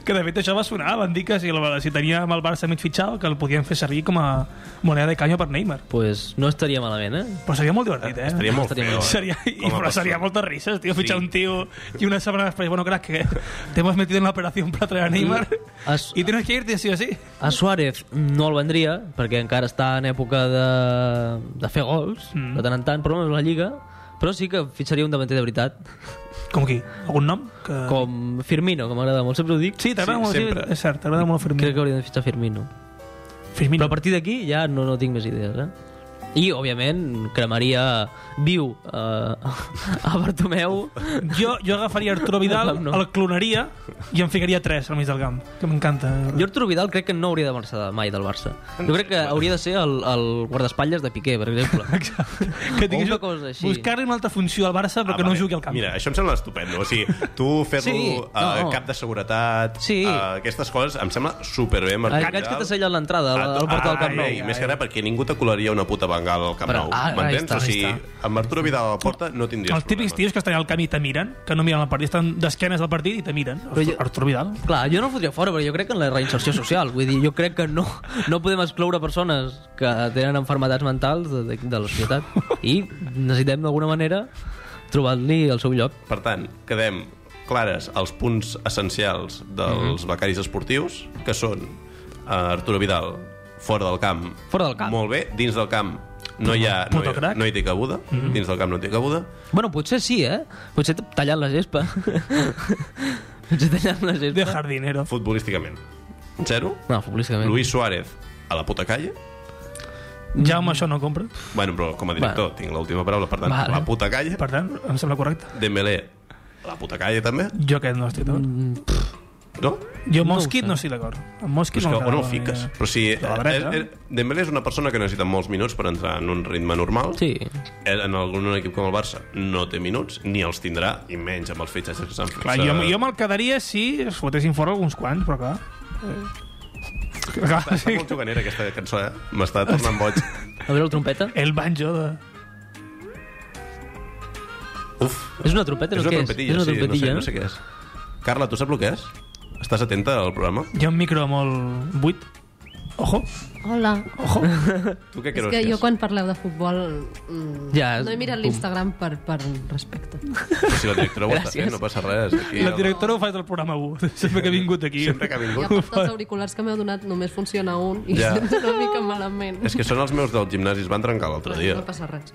Speaker 2: que de fet això va sonar, van dir que si, el- si tenia amb el Barça mig fitxat que el podien fer servir com a moneda de canyo per Neymar.
Speaker 3: pues no estaria malament, eh?
Speaker 2: Però seria molt divertit, eh?
Speaker 1: Estaria molt
Speaker 3: Estaria
Speaker 1: feo.
Speaker 3: molt
Speaker 1: eh?
Speaker 2: Seria, i,
Speaker 1: Com a
Speaker 2: però seria
Speaker 1: persona.
Speaker 2: moltes risses, tio, fitxar
Speaker 1: Sí.
Speaker 2: un tio i una setmana després, bueno, crac, que te hemos metido en la operación para traer a Neymar
Speaker 3: Has-
Speaker 2: y tienes que irte sí o sí.
Speaker 3: A Suárez no el vendria, perquè encara està en època de, de fer gols, mm. de tant en tant, però no és la Lliga. Però sí que fitxaria un davanter de veritat,
Speaker 2: Com qui? Algun nom? Que...
Speaker 3: com Firmino, que m'agrada molt, sempre ho dic.
Speaker 2: Sí,
Speaker 1: Ah,
Speaker 2: t'agrada
Speaker 1: Sí,
Speaker 2: molt,
Speaker 1: sempre.
Speaker 2: sí, és cert, t'agrada molt
Speaker 3: Crec que
Speaker 2: Firmino.
Speaker 3: hauria de fitxar Firmino. Però
Speaker 2: Firmino.
Speaker 3: a partir d'aquí ja no, no tinc més idees, eh? I, òbviament, cremaria viu eh, a Bartomeu.
Speaker 2: Jo, jo agafaria Arturo Vidal,
Speaker 3: No.
Speaker 2: el clonaria i en ficaria tres al mig del camp, que m'encanta.
Speaker 3: Jo Arturo Vidal crec que no hauria de marxar mai del Barça. Jo crec que hauria de ser el, el guardaespatlles de Piqué, per exemple.
Speaker 2: que
Speaker 3: O una cosa així.
Speaker 2: Buscar-li una altra funció al Barça però
Speaker 1: Ah,
Speaker 2: que no
Speaker 1: vale.
Speaker 2: jugui al camp.
Speaker 1: Mira, això em sembla estupendo. O sigui, tu fer-lo
Speaker 3: Sí,
Speaker 1: eh,
Speaker 3: no.
Speaker 1: cap de seguretat,
Speaker 3: Sí.
Speaker 1: eh, aquestes coses, em sembla superbé.
Speaker 3: El
Speaker 1: Marc
Speaker 3: gaig que
Speaker 1: Vidal.
Speaker 3: t'ha sellat l'entrada al, al portal del Camp
Speaker 1: Ah, Ai,
Speaker 3: Nou.
Speaker 1: Més que res perquè ningú t'acolaria una puta bengala al Camp
Speaker 3: Però,
Speaker 1: Nou.
Speaker 3: ah, ahí
Speaker 1: M'entens?
Speaker 3: està,
Speaker 1: O sigui,
Speaker 3: ahí
Speaker 1: amb Arturo Vidal a la porta no tindries
Speaker 2: Els típics
Speaker 1: problemes.
Speaker 2: tios que estan al camp i te miren, que no miren el partit, estan d'esquenes al partit i te miren.
Speaker 3: Però jo-
Speaker 2: Artur Vidal.
Speaker 3: Clar, jo no el fotria fora, però jo crec que en la reinserció social. Vull dir, jo crec que no, no podem excloure persones que tenen enfermedades mentals de, de, de la societat. I necessitem, d'alguna manera, trobar-li el seu lloc.
Speaker 1: Per tant, quedem clares els punts essencials dels
Speaker 3: Mhm.
Speaker 1: becaris esportius, que són eh, Arturo Vidal, fora del camp.
Speaker 3: Fora del camp.
Speaker 1: Molt bé, dins del camp no hi ha... No
Speaker 2: Puto
Speaker 1: hi,
Speaker 2: crac.
Speaker 1: no hi té cabuda.
Speaker 3: Mhm.
Speaker 1: Dins del camp no té cabuda.
Speaker 3: Bueno, potser sí, eh? Potser tallant la gespa. potser tallant la gespa.
Speaker 2: De jardinero.
Speaker 1: Futbolísticament. Zero.
Speaker 3: No, futbolísticament.
Speaker 1: Luis Suárez a la puta calle.
Speaker 2: Jaume això no compra.
Speaker 1: Bueno, però com a director tinc l'última paraula, per tant,
Speaker 3: Vale.
Speaker 1: a la puta calle.
Speaker 2: Per tant, em sembla correcte.
Speaker 1: Dembélé a la puta calle també,
Speaker 2: Jo aquest no estic d'acord.
Speaker 1: no?
Speaker 2: Jo
Speaker 3: Mm, No ho
Speaker 2: Mosquit
Speaker 3: sé.
Speaker 2: no estic d'acord. Amb Mosquit
Speaker 1: Però és que
Speaker 2: no
Speaker 1: on el fiques? Però si, eh,
Speaker 2: la dreta.
Speaker 1: eh, Dembélé és una persona que necessita molts minuts per entrar en un ritme normal.
Speaker 3: Sí.
Speaker 1: Eh, en algun un equip com el Barça no té minuts, ni els tindrà, i menys amb els fitxatges que s'han fet.
Speaker 2: Clar, jo, jo me'l quedaria si es fotessin fora alguns quants, però clar... Eh. clar
Speaker 1: Està
Speaker 2: sí.
Speaker 1: molt juganera aquesta cançó, eh? M'està tornant boig.
Speaker 3: A veure la trompeta.
Speaker 2: El banjo de...
Speaker 1: Uf,
Speaker 3: És una trompeta,
Speaker 1: és
Speaker 3: no
Speaker 1: una
Speaker 3: què
Speaker 1: trompetilla,
Speaker 3: és? És una
Speaker 1: sí, no sé,
Speaker 3: trompetilla,
Speaker 1: no sé què és. Carla, tu saps el que és? Estàs atenta al programa?
Speaker 2: Hi ha un micro molt buit. Ojo,
Speaker 4: Hola.
Speaker 2: ojo.
Speaker 1: Tu què
Speaker 7: És
Speaker 1: creus
Speaker 7: que
Speaker 1: que
Speaker 7: jo
Speaker 1: és?
Speaker 7: quan parleu de futbol mm,
Speaker 3: Ja,
Speaker 7: no he mirat
Speaker 3: com-
Speaker 7: l'Instagram per, per respecte.
Speaker 1: Quan... Si la directora ho està
Speaker 3: Gràcies.
Speaker 1: fent, no passa res. Aquí,
Speaker 2: La directora ho fa del programa 1, sempre que ha vingut aquí.
Speaker 1: Sempre que ha
Speaker 7: I a
Speaker 1: vingut.
Speaker 7: part dels auriculars que m'heu donat només funciona un i
Speaker 1: Ja.
Speaker 7: ja. sento una mica malament.
Speaker 1: És que són els meus del gimnàs i es van trencar l'altre dia.
Speaker 7: No passa res.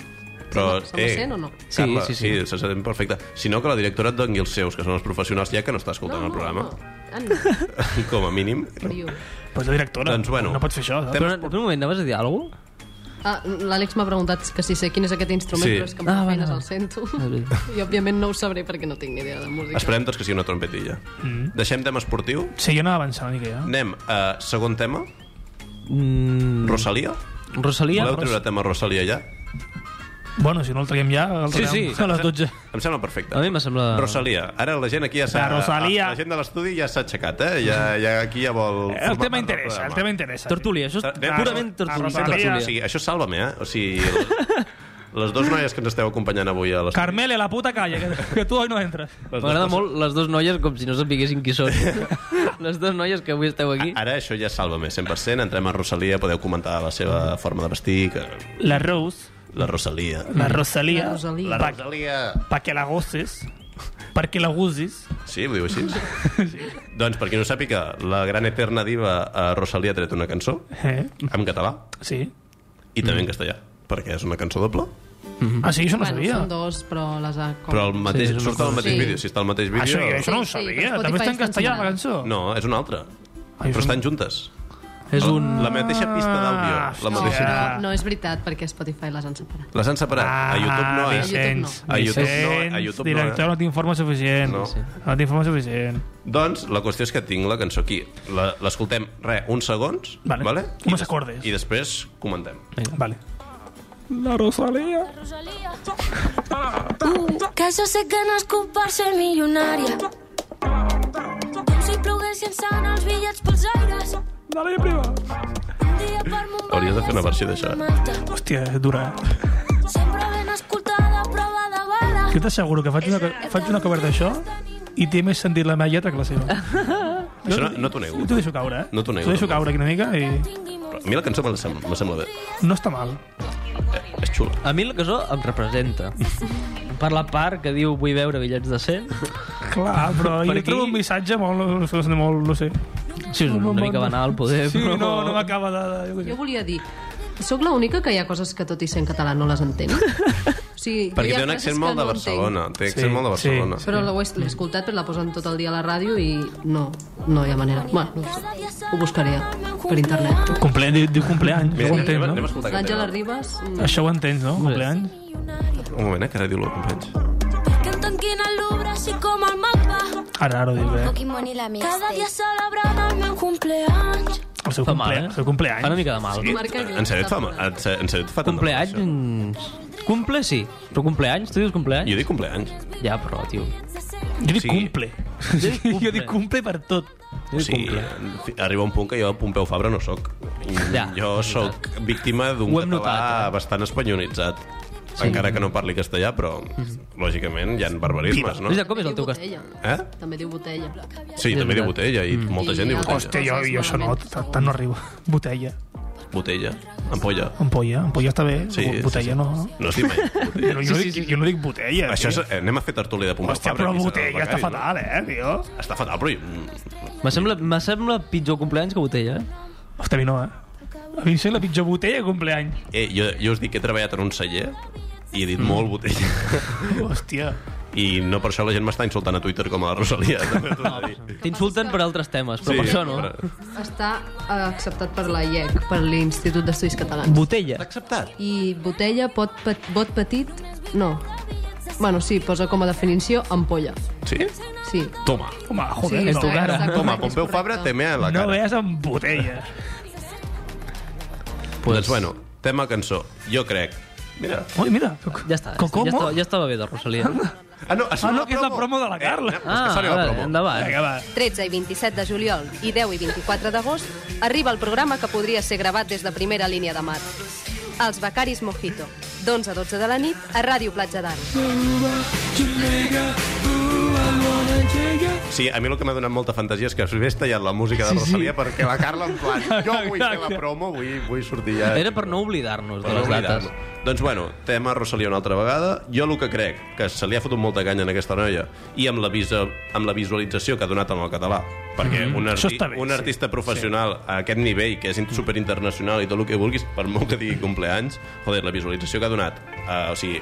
Speaker 1: Però, eh,
Speaker 7: se me- se me sent o no?
Speaker 3: Sí,
Speaker 1: Carla,
Speaker 3: sí,
Speaker 1: sí,
Speaker 3: sí.
Speaker 1: se sent perfecte. Si no, que la directora et doni els seus, que són els professionals, ja que no està escoltant el programa.
Speaker 7: Ah, no.
Speaker 1: Com a mínim.
Speaker 7: Criu.
Speaker 2: Pues la directora,
Speaker 1: Doncs, bueno.
Speaker 2: no pots fer això. saps?
Speaker 1: Tem-
Speaker 3: Però en un moment, anaves a dir alguna cosa?
Speaker 7: Ah, L'Àlex m'ha preguntat que si sé quin és aquest instrument,
Speaker 1: Sí.
Speaker 7: sí. però és que amb
Speaker 3: Ah,
Speaker 7: ah,
Speaker 3: vale,
Speaker 7: feines
Speaker 3: vale.
Speaker 7: el sento.
Speaker 3: veritat.
Speaker 7: I òbviament no ho sabré perquè no tinc ni idea de música.
Speaker 1: Esperem tots que sigui una trompetilla. Mm. Deixem tema esportiu.
Speaker 2: Sí, jo anava avançant una mica, ja.
Speaker 1: Anem a segon tema.
Speaker 3: Mm,
Speaker 1: Rosalia.
Speaker 3: Rosalia?
Speaker 1: Voleu treure tema Rosalia ja?
Speaker 2: Bueno, si no el traiem ja, el
Speaker 3: Sí,
Speaker 2: traiem
Speaker 3: sí.
Speaker 2: a les 12.
Speaker 1: Em sembla perfecte.
Speaker 3: A mi me sembla...
Speaker 1: Rosalia. Ara la gent aquí ja s'ha...
Speaker 2: La Rosalia. Eh,
Speaker 1: La gent de l'estudi ja s'ha aixecat, eh? Ja, ja aquí ja vol...
Speaker 2: El
Speaker 1: formar
Speaker 2: tema
Speaker 1: part
Speaker 2: interessa,
Speaker 1: del
Speaker 2: el
Speaker 1: programa.
Speaker 2: tema interessa.
Speaker 3: Tertúlia, això és
Speaker 1: Anem a-
Speaker 3: purament
Speaker 2: a
Speaker 3: tertúlia.
Speaker 2: Rosalia.
Speaker 1: O
Speaker 3: tertúlia.
Speaker 1: sigui, això sàlvame, eh? O sigui, el- les dues noies que ens esteu acompanyant avui a l'estudi...
Speaker 2: Carmele, la puta calla, que, que tu avui no entres.
Speaker 1: les dues
Speaker 3: M'agrada
Speaker 1: persones-
Speaker 3: molt les dues noies com si no sapiguessin qui són. les dues noies que avui esteu aquí.
Speaker 1: Ara això ja és Sálvame, 100%. Entrem a Rosalia, podeu comentar la seva forma de vestir, que...
Speaker 2: La Rose,
Speaker 1: la Rosalia.
Speaker 3: Mm.
Speaker 2: la Rosalia,
Speaker 7: La Rosalia.
Speaker 1: La
Speaker 2: pa-
Speaker 1: Rosalia...
Speaker 2: pa que la gosses, perquè la gusis.
Speaker 1: Sí, ho diu així? Doncs, per qui no sàpiga, la gran eterna diva eh, Rosalia ha tret una cançó
Speaker 2: Eh?
Speaker 1: en català
Speaker 2: Sí.
Speaker 1: i també
Speaker 2: Mm.
Speaker 1: en castellà, perquè és una cançó doble.
Speaker 3: Mm-hmm.
Speaker 2: Ah, sí, això no
Speaker 7: bueno,
Speaker 2: sabia.
Speaker 7: són dos, però les ha... Com...
Speaker 1: Però el mateix,
Speaker 3: és una
Speaker 1: surt al
Speaker 3: cosa
Speaker 1: mateix
Speaker 7: així.
Speaker 1: vídeo. Si està al mateix vídeo...
Speaker 2: Ah, Això, això no ho
Speaker 7: Sí, sí,
Speaker 2: sabia.
Speaker 7: per Spotify
Speaker 2: També està en
Speaker 7: estan
Speaker 2: castellà, la
Speaker 7: sonant.
Speaker 2: cançó.
Speaker 1: No, és una altra.
Speaker 2: Ai, Ah, és
Speaker 1: Però
Speaker 2: un-
Speaker 1: estan juntes.
Speaker 3: És un...
Speaker 1: La mateixa pista d'àudio. La
Speaker 7: No,
Speaker 1: mateixa...
Speaker 7: no, no, és veritat, perquè Spotify les han separat.
Speaker 1: Les han separat. a
Speaker 2: Ah,
Speaker 1: YouTube no, eh?
Speaker 2: Vicenç,
Speaker 1: A YouTube no, eh?
Speaker 2: Vicenç,
Speaker 1: A YouTube no, eh?
Speaker 2: director, no t'informa suficient.
Speaker 1: No.
Speaker 2: No,
Speaker 1: Sí.
Speaker 2: t'informa suficient.
Speaker 1: Doncs la qüestió és que tinc la cançó aquí. La- L'escoltem, re, uns segons,
Speaker 2: Vale.
Speaker 1: vale? I
Speaker 2: Uns
Speaker 1: des-
Speaker 2: acordes.
Speaker 1: I després comentem.
Speaker 2: Vale. La Rosalia.
Speaker 8: Que jo sé que nascut per ser milionària. Com si ploguessin sant els bitllets pels aires.
Speaker 2: Dale, prima.
Speaker 8: Un dia per Mumbai...
Speaker 1: Hauries de fer una versió d'això, eh?
Speaker 8: Malta.
Speaker 2: Hòstia, és dura. eh?
Speaker 8: Sempre ben escoltada, prova de bala.
Speaker 2: Jo t'asseguro que faig una, faig una cover d'això i té més sentit la meva lletra que la seva.
Speaker 1: Això no, no t'ho nego.
Speaker 2: Jo t'ho deixo caure, eh?
Speaker 1: No t'ho nego,
Speaker 2: T'ho deixo
Speaker 1: tampoc.
Speaker 2: caure aquí una mica i...
Speaker 8: Tingui
Speaker 1: Però
Speaker 8: molts
Speaker 1: a mi la cançó me la sembla, me sembla bé. Eh,
Speaker 2: No està mal.
Speaker 1: És xula.
Speaker 3: A mi la cançó em representa. Per la part que diu vull veure bitllets de 100.
Speaker 2: Clar, però
Speaker 3: Per
Speaker 2: jo
Speaker 3: aquí-
Speaker 2: trobo un missatge molt, molt, molt no sé.
Speaker 3: Sí, és una mica banal, poder,
Speaker 2: Sí,
Speaker 3: però...
Speaker 2: no, no m'acaba de... de-
Speaker 7: Jo volia dir, sóc l'única que hi ha coses que tot i ser en català no les entenc? O sigui, hi
Speaker 1: Perquè té
Speaker 7: ha
Speaker 1: un
Speaker 7: frases
Speaker 1: accent
Speaker 7: que
Speaker 1: molt de
Speaker 7: no entenc.
Speaker 1: Barcelona. Té
Speaker 2: Sí,
Speaker 1: accent molt de
Speaker 2: sí.
Speaker 1: Barcelona.
Speaker 7: Però l'ho he l'he escoltat, però la posen tot el dia a la ràdio i no, no hi ha manera. Bueno, no ho sé. ho buscaré per internet.
Speaker 2: Comple... Diu, diu compleanys,
Speaker 1: Mira,
Speaker 2: ho
Speaker 1: anem,
Speaker 2: entens,
Speaker 1: anem a
Speaker 2: no?
Speaker 1: escoltar aquest
Speaker 7: L'Àngela
Speaker 1: tema.
Speaker 7: Ribas... mm,
Speaker 2: Això ho entens, no? Compleanys?
Speaker 8: milionària.
Speaker 1: Un moment, eh, que ara diu-lo, companys.
Speaker 8: Que em tanquin el Louvre així com el mapa.
Speaker 2: Ara, ara ho dic, eh?
Speaker 9: Pokémon i la
Speaker 8: Cada dia
Speaker 9: mixtape.
Speaker 8: celebrant el meu cumpleaños.
Speaker 2: El seu,
Speaker 3: Fa mal,
Speaker 2: comple...
Speaker 3: eh?
Speaker 2: el seu compleanys.
Speaker 3: Fa una mica de mal.
Speaker 7: Marca Lluís,
Speaker 1: En sèrio et fa mal? En sèrio en sèrio et fa tant de mal,
Speaker 3: Compleanys...
Speaker 1: això?
Speaker 3: mm, Cumple, sí. Però compleanys, tu dius compleanys?
Speaker 1: Jo dic compleanys.
Speaker 3: Ja, però, tio.
Speaker 2: Jo dic
Speaker 1: Sí.
Speaker 2: cumple. Jo dic cumple per tot.
Speaker 1: O
Speaker 3: Jo dic
Speaker 1: sigui,
Speaker 3: cumple.
Speaker 1: fi- arriba un punt que jo Pompeu Fabra no sóc.
Speaker 3: Ja,
Speaker 1: jo
Speaker 3: és
Speaker 1: sóc víctima d'un
Speaker 3: Ho
Speaker 1: català
Speaker 3: hem notat, eh?
Speaker 1: bastant espanyolitzat. Encara que no parli castellà, però lògicament hi ha barbarismes, no?
Speaker 3: Luis, com Mhm. és el teu castell?
Speaker 7: Botella.
Speaker 1: Eh?
Speaker 7: També diu botella.
Speaker 1: Sí,
Speaker 3: És
Speaker 1: també diu
Speaker 3: veritat. Mm.
Speaker 1: botella, i molta gent diu
Speaker 7: I-
Speaker 1: botella.
Speaker 2: Hòstia, jo, jo això no, tant tant no arribo. Botella,
Speaker 1: Botella, ampolla.
Speaker 2: ampolla, ampolla està bé,
Speaker 1: Sí, sí,
Speaker 2: botella
Speaker 1: sí.
Speaker 2: no.
Speaker 1: No es diu mai.
Speaker 2: Jo,
Speaker 1: botella.
Speaker 2: no- jo, dic, jo no dic botella,
Speaker 1: Això és,
Speaker 2: tio.
Speaker 1: eh, anem a fer tertúlia de Pompeu
Speaker 2: Hòstia,
Speaker 1: Fabra.
Speaker 2: però
Speaker 1: aquí, serà el
Speaker 2: botella està
Speaker 1: becari, no?
Speaker 2: fatal, eh, tio.
Speaker 1: Està fatal, però... jo-
Speaker 3: Me sembla, me sembla pitjor compleanys que botella, eh?
Speaker 2: Hòstia, a mi no, eh. A mi em sembla la pitjor botella de compleany.
Speaker 1: Eh, jo, jo us dic que he treballat en un celler i he dit
Speaker 2: Mm.
Speaker 1: molt botella.
Speaker 2: Hòstia.
Speaker 1: I no per això la gent m'està insultant a Twitter com a la Rosalia. També t'ho he de dir.
Speaker 3: T'insulten per altres temes, però per això no.
Speaker 1: però-
Speaker 7: Està eh, acceptat per la IEC, per l'Institut d'Estudis Catalans.
Speaker 3: Botella.
Speaker 1: L'ha acceptat?
Speaker 7: I botella, pot, pet, bot petit, no. Bueno, sí, posa com a definició ampolla.
Speaker 1: Sí?
Speaker 7: Sí.
Speaker 1: Toma.
Speaker 2: Home,
Speaker 7: Sí,
Speaker 2: joder, no.
Speaker 7: és
Speaker 2: tu cara.
Speaker 7: correcte,
Speaker 1: Toma,
Speaker 7: és
Speaker 1: Pompeu
Speaker 7: correcte.
Speaker 1: Fabra té mea en la
Speaker 2: No eh?
Speaker 1: cara.
Speaker 2: veus amb botella.
Speaker 1: pues... Doncs bueno, tema cançó. Jo crec... Mira.
Speaker 2: Ui, mira.
Speaker 3: Ja està, ja, està,
Speaker 2: Cocomo.
Speaker 3: ja, estava, ja estava bé de Rosalia.
Speaker 1: Ah, no, això
Speaker 2: Ah, no, que és la promo de la Carla.
Speaker 1: Eh,
Speaker 2: Ah,
Speaker 1: no, és que sona la
Speaker 3: vale,
Speaker 1: promo.
Speaker 3: Ah, endavant.
Speaker 2: Vinga, va.
Speaker 4: 13 i 27 de juliol i 10 i 24 d'agost arriba el programa que podria ser gravat des de primera línia de mar. Els Becaris Mojito, d'11 a 12 de la nit a Ràdio Platja d'Aro.
Speaker 10: Aruba, Jamaica, ooh,
Speaker 1: Sí, a mi el que m'ha donat molta fantasia és que s'hagués tallat la música de
Speaker 2: Sí, sí.
Speaker 1: Rosalia perquè la Carla, en plan, jo vull fer la promo, vull, vull sortir ja...
Speaker 3: Era per no oblidar-nos de
Speaker 1: Per no
Speaker 3: les dates.
Speaker 1: oblidar-lo. Doncs bueno, tema Rosalia una altra vegada. Jo el que crec, que se li ha fotut molta canya en aquesta noia, i amb la, visa, amb la visualització que ha donat en el català, perquè mm -hmm. un,
Speaker 2: Mhm. Això
Speaker 1: arti
Speaker 2: està bé,
Speaker 1: un
Speaker 2: sí.
Speaker 1: artista professional sí. a aquest nivell, que és superinternacional i tot el que vulguis, per molt que digui compleanys, joder, la visualització que ha donat, uh, o sigui,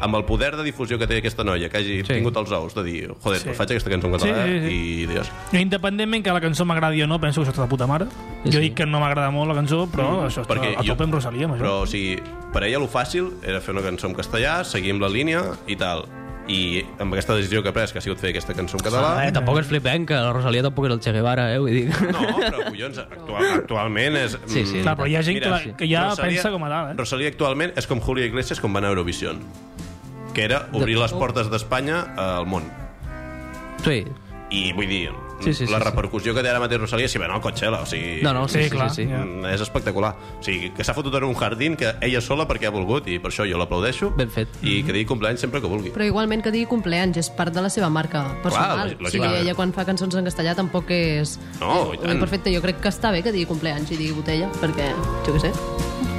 Speaker 1: amb el poder de difusió que té aquesta noia, que hagi sí. tingut els ous de dir, joder, sí. pues faig aquesta cançó en català
Speaker 2: Sí, sí, sí.
Speaker 1: i dius,
Speaker 2: Jo, independentment que la cançó m'agradi o no, penso que això està de puta mare. Sí, jo
Speaker 3: sí.
Speaker 2: dic que no m'agrada molt la cançó, però mm, això està
Speaker 1: Perquè
Speaker 2: a
Speaker 1: jo-
Speaker 2: tope amb Rosalia. Amb
Speaker 1: Però,
Speaker 2: però...
Speaker 1: o sigui, per ella el fàcil era fer una cançó en castellà, seguir amb la línia i tal. I amb aquesta decisió que ha pres, que ha sigut fer aquesta cançó en català...
Speaker 3: Ah, eh, tampoc ens flipem, que la Rosalia tampoc és el Che Guevara, eh? Vull dir...
Speaker 1: No, però, collons, actual, actualment és...
Speaker 3: Sí, sí.
Speaker 1: mm,
Speaker 2: Clar, però hi ha gent
Speaker 1: Mira,
Speaker 2: Mira, que,
Speaker 3: sí.
Speaker 2: la, que ja pensa com a dalt, eh?
Speaker 1: Rosalía actualment és com Julio Iglesias com va anar a Eurovision, que era obrir les portes d'Espanya al món.
Speaker 3: Sí.
Speaker 1: I vull dir,
Speaker 3: Sí, sí, sí,
Speaker 1: la
Speaker 3: sí.
Speaker 1: repercussió que té ara mateix Rosalía si va anar al Coachella, o sigui...
Speaker 3: No, no, sí,
Speaker 2: Sí,
Speaker 3: sí, sí,
Speaker 2: clar.
Speaker 3: sí, sí.
Speaker 2: Ja.
Speaker 1: Mm, És espectacular. O sigui, que s'ha fotut en un jardín que ella sola perquè ha volgut i per això jo l'aplaudeixo.
Speaker 3: Ben fet.
Speaker 1: I que digui compleanys sempre que vulgui.
Speaker 7: Però igualment que digui compleanys, és part de la seva marca personal.
Speaker 1: lògic-
Speaker 7: o sigui,
Speaker 1: lògicament.
Speaker 7: ella quan fa cançons en castellà tampoc és...
Speaker 1: No, Oh, i
Speaker 7: Vull dir,
Speaker 1: tant.
Speaker 7: Perfecte, jo crec que està bé que digui compleanys i digui botella, perquè, jo què sé.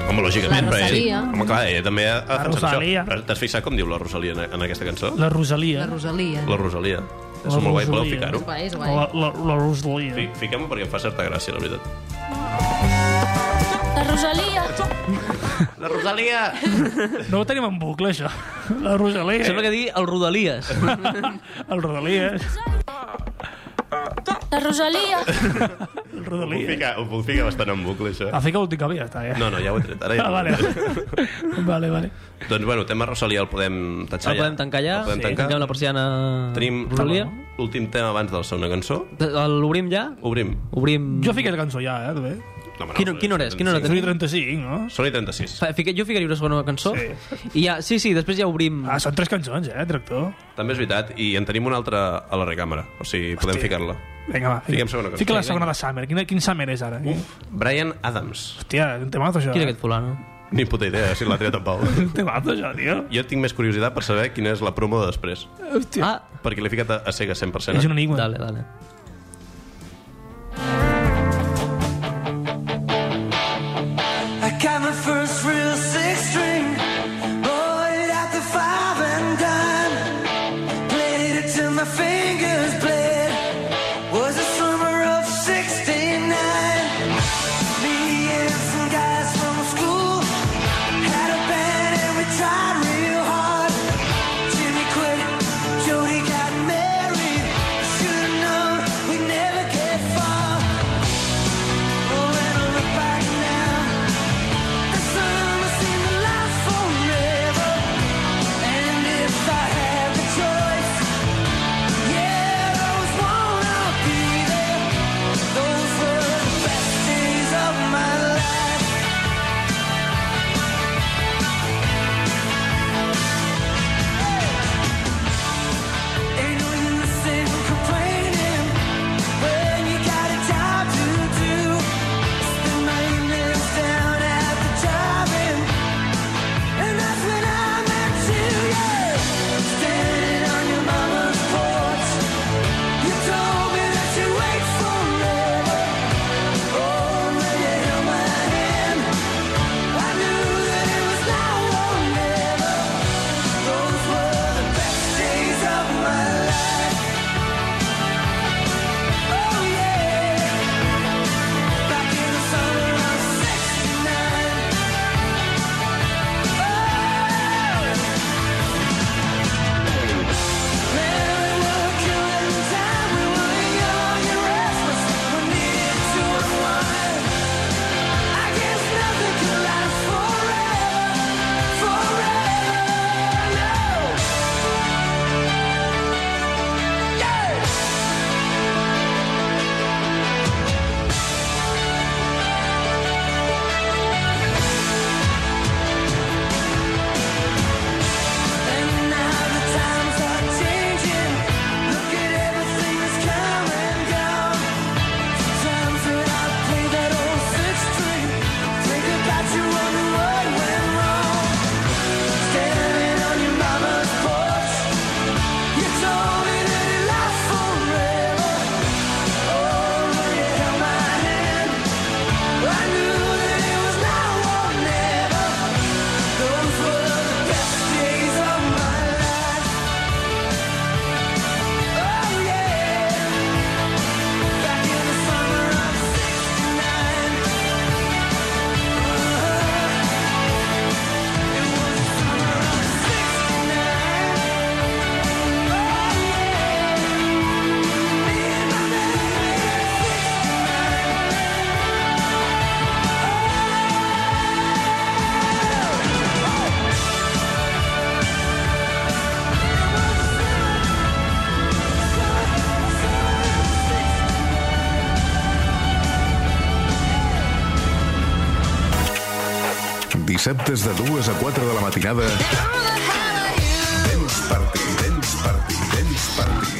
Speaker 1: Home, lògicament,
Speaker 7: La
Speaker 1: però ell...
Speaker 7: Rosalia.
Speaker 1: Home, clar, ella també ha ha defensat
Speaker 2: Rosalia.
Speaker 1: això. Però T'has fixat com diu la Rosalia en, en aquesta cançó? La,
Speaker 2: La Rosalia.
Speaker 7: La Rosalia.
Speaker 1: Eh? la Rosalia. És
Speaker 2: La
Speaker 1: molt guai, podeu
Speaker 2: Rosalia.
Speaker 1: ficar-ho.
Speaker 7: És guai, és guai.
Speaker 2: La, la, la Rosalia.
Speaker 1: Sí, Fiquem-ho perquè em fa certa gràcia, la veritat.
Speaker 8: La Rosalia.
Speaker 1: La Rosalia!
Speaker 2: No ho tenim en bucle, això. La Rosalia.
Speaker 3: Sembla que digui el Rodalies.
Speaker 2: El Rodalia.
Speaker 8: La Rosalia.
Speaker 2: El
Speaker 1: Ho puc
Speaker 2: Rodalia.
Speaker 1: ficar, ho puc ficar bastant en bucle, això.
Speaker 2: Ah, fica l'últim cop i ja està, ja.
Speaker 1: No, no, ja ho he tret. Ara ja
Speaker 2: Ah,
Speaker 1: ho
Speaker 2: vale,
Speaker 1: he tret.
Speaker 2: vale. vale, vale.
Speaker 1: Doncs, bueno, tema Rosalia el podem tatxar
Speaker 3: El podem tancar ja,
Speaker 1: El podem
Speaker 3: sí. tanquem
Speaker 1: tancar.
Speaker 3: la persiana
Speaker 1: Tenim
Speaker 3: Rosalia.
Speaker 1: l'últim tema abans de la segona cançó.
Speaker 3: De- L'obrim ja?
Speaker 1: Obrim.
Speaker 3: Obrim...
Speaker 2: Jo fiqué la cançó ja, eh, també.
Speaker 1: No, home, no,
Speaker 3: Quina- quina hora és? Quina hora
Speaker 2: Són i 35, no?
Speaker 1: Són i 36.
Speaker 3: Fa- Fica, jo ficaria una segona cançó
Speaker 2: Sí.
Speaker 3: i ja, sí, sí, després ja obrim
Speaker 2: Ah, són tres cançons, eh, tractor.
Speaker 1: També és veritat, i en tenim una altra a la recàmera, o sigui, podem ficar-la.
Speaker 2: Vinga, va. Fica,
Speaker 1: Fiquem segona cançó.
Speaker 2: Fica la
Speaker 1: Sí,
Speaker 2: segona de Summer. Quina, quin Summer és ara? Uf.
Speaker 1: Brian Adams.
Speaker 2: Hòstia, és un temazo, això.
Speaker 3: Qui era
Speaker 2: eh?
Speaker 3: aquest fulano?
Speaker 1: Ni puta idea, si l'ha tret en Pau.
Speaker 2: Un temazo, això, tio.
Speaker 1: Jo tinc més curiositat per saber quina és la promo de després,
Speaker 2: Hòstia.
Speaker 3: Ah,
Speaker 1: perquè l'he ficat a, a cega 100%.
Speaker 2: és un enigma.
Speaker 3: dale, dale.
Speaker 10: I got my first real six string, bought it at the five and dime, played it till my fingers bled. Was the summer of '69. Me and some guys from school had a band and we tried real hard. Jimmy quit, Jody got married. Should've known
Speaker 11: Oh!
Speaker 5: Oh,
Speaker 9: Dissabtes de 2 a 4 de la matinada. Dance Party, Dance Party, Dance Party.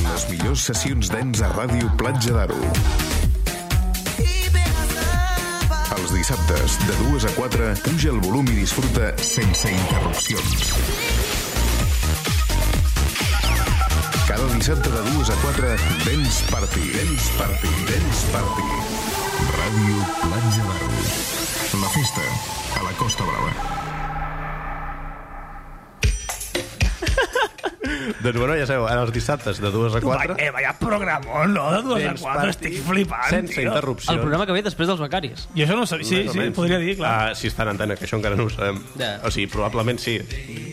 Speaker 9: Les millors sessions dents a Ràdio Platja d'Aro. Els dissabtes, de 2 a 4, puja el volum i disfruta sense interrupcions. Cada dissabte de 2 a 4, Dance Party, Dance Party, Dance Party. Ràdio Platja d'Aro. La festa a la Costa Brava.
Speaker 1: Doncs bueno, ja sabeu, ara els dissabtes de 2 a 4...
Speaker 2: Eh, vaya programa, no? De dues a
Speaker 1: Dance
Speaker 2: quatre,
Speaker 1: Party,
Speaker 2: estic flipant,
Speaker 1: Sense
Speaker 2: tio.
Speaker 1: interrupcions.
Speaker 3: El programa que ve després dels becaris.
Speaker 2: I això no ho sabia. Sí,
Speaker 1: Més o
Speaker 2: sí,
Speaker 1: menys.
Speaker 2: podria dir, clar.
Speaker 1: Ah, si està en antena, que això encara no ho sabem.
Speaker 3: Ja.
Speaker 1: O sigui, probablement sí,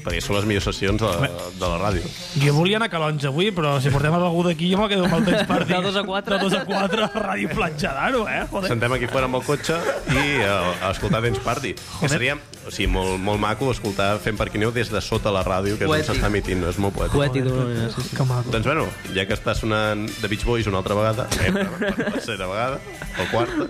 Speaker 1: perquè són les millors sessions de, de la ràdio.
Speaker 2: Jo volia anar a Calonge avui, però si portem algú d'aquí jo me'l quedo amb el temps per dir.
Speaker 3: De dos a quatre.
Speaker 2: De dos a quatre, Ràdio Platja d'Aro, eh? Joder.
Speaker 1: Sentem aquí fora amb el cotxe i uh, escoltar Dance Party. Que seria o sigui, molt, molt maco escoltar fent parquineu des de sota la ràdio, que és on
Speaker 3: Poètic.
Speaker 1: s'està emitint, és molt poètic.
Speaker 3: Poètic d'una manera, sí, sí.
Speaker 2: Que maco.
Speaker 1: Doncs bueno, ja que està sonant The Beach Boys una altra vegada, eh, per tercera vegada, o quarta,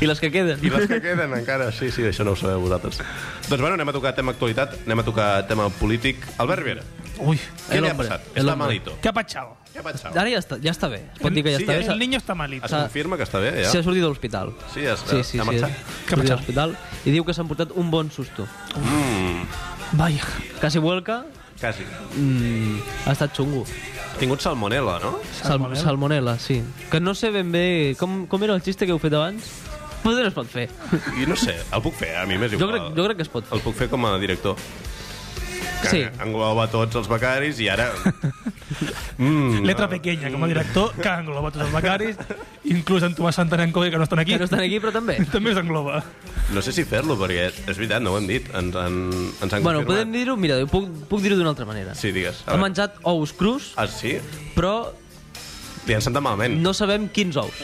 Speaker 3: I les que queden.
Speaker 1: i les que queden encara, sí, sí, això no ho sabeu vosaltres. Doncs bueno, anem a tocar tema actualitat, anem a tocar tema polític. Albert Rivera,
Speaker 2: Ui,
Speaker 1: què
Speaker 3: El
Speaker 1: li ha
Speaker 3: hombre,
Speaker 1: passat?
Speaker 3: el
Speaker 1: Està
Speaker 3: hombre.
Speaker 1: malito.
Speaker 2: que ha patxado.
Speaker 1: Què ha passat?
Speaker 3: Ara ja està, ja està bé. Es pot dir que ja
Speaker 1: Sí,
Speaker 3: està
Speaker 1: eh?
Speaker 3: bé.
Speaker 2: El niño està malito.
Speaker 1: Es confirma que està bé, ja?
Speaker 3: S'ha sortit de l'hospital.
Speaker 1: Sí, ja està.
Speaker 3: Sí, sí,
Speaker 1: Ha
Speaker 3: sí.
Speaker 1: marxat?
Speaker 2: Que
Speaker 3: Sortit de
Speaker 2: marxar.
Speaker 3: l'hospital. I diu que s'han portat un bon susto.
Speaker 2: Vaya.
Speaker 3: Quasi vuelca,
Speaker 1: Quasi.
Speaker 3: mm, ha estat xungo.
Speaker 1: Ha tingut salmonella, no?
Speaker 3: Salmonella.
Speaker 2: Salmonella.
Speaker 3: Salmonella, sí. Que no sé ben bé... Com, com era el xiste que heu fet abans? Potser no es pot fer.
Speaker 1: I no sé, el puc fer, a mi m'és
Speaker 3: Jo
Speaker 1: igual.
Speaker 3: crec, jo crec que es pot fer.
Speaker 1: El puc fer com a director. Que
Speaker 3: Sí.
Speaker 1: engloba tots els becaris i ara... Mm,
Speaker 2: Letra pequeña, com a director, que engloba tots els becaris, inclús en Tomàs Santanenco, que no estan aquí.
Speaker 3: Que no estan aquí, però també.
Speaker 2: També els engloba.
Speaker 1: No sé si fer-lo, perquè és veritat, no ho hem dit. Ens han, ens han
Speaker 3: Bueno,
Speaker 1: confirmat.
Speaker 3: podem dir-ho... Mira, jo puc, puc dir-ho d'una altra manera.
Speaker 1: Sí, digues. a
Speaker 3: Ha
Speaker 1: veure.
Speaker 3: menjat ous crus,
Speaker 1: Ah, sí?
Speaker 3: però
Speaker 1: Li han sentat malament.
Speaker 3: no sabem quins ous.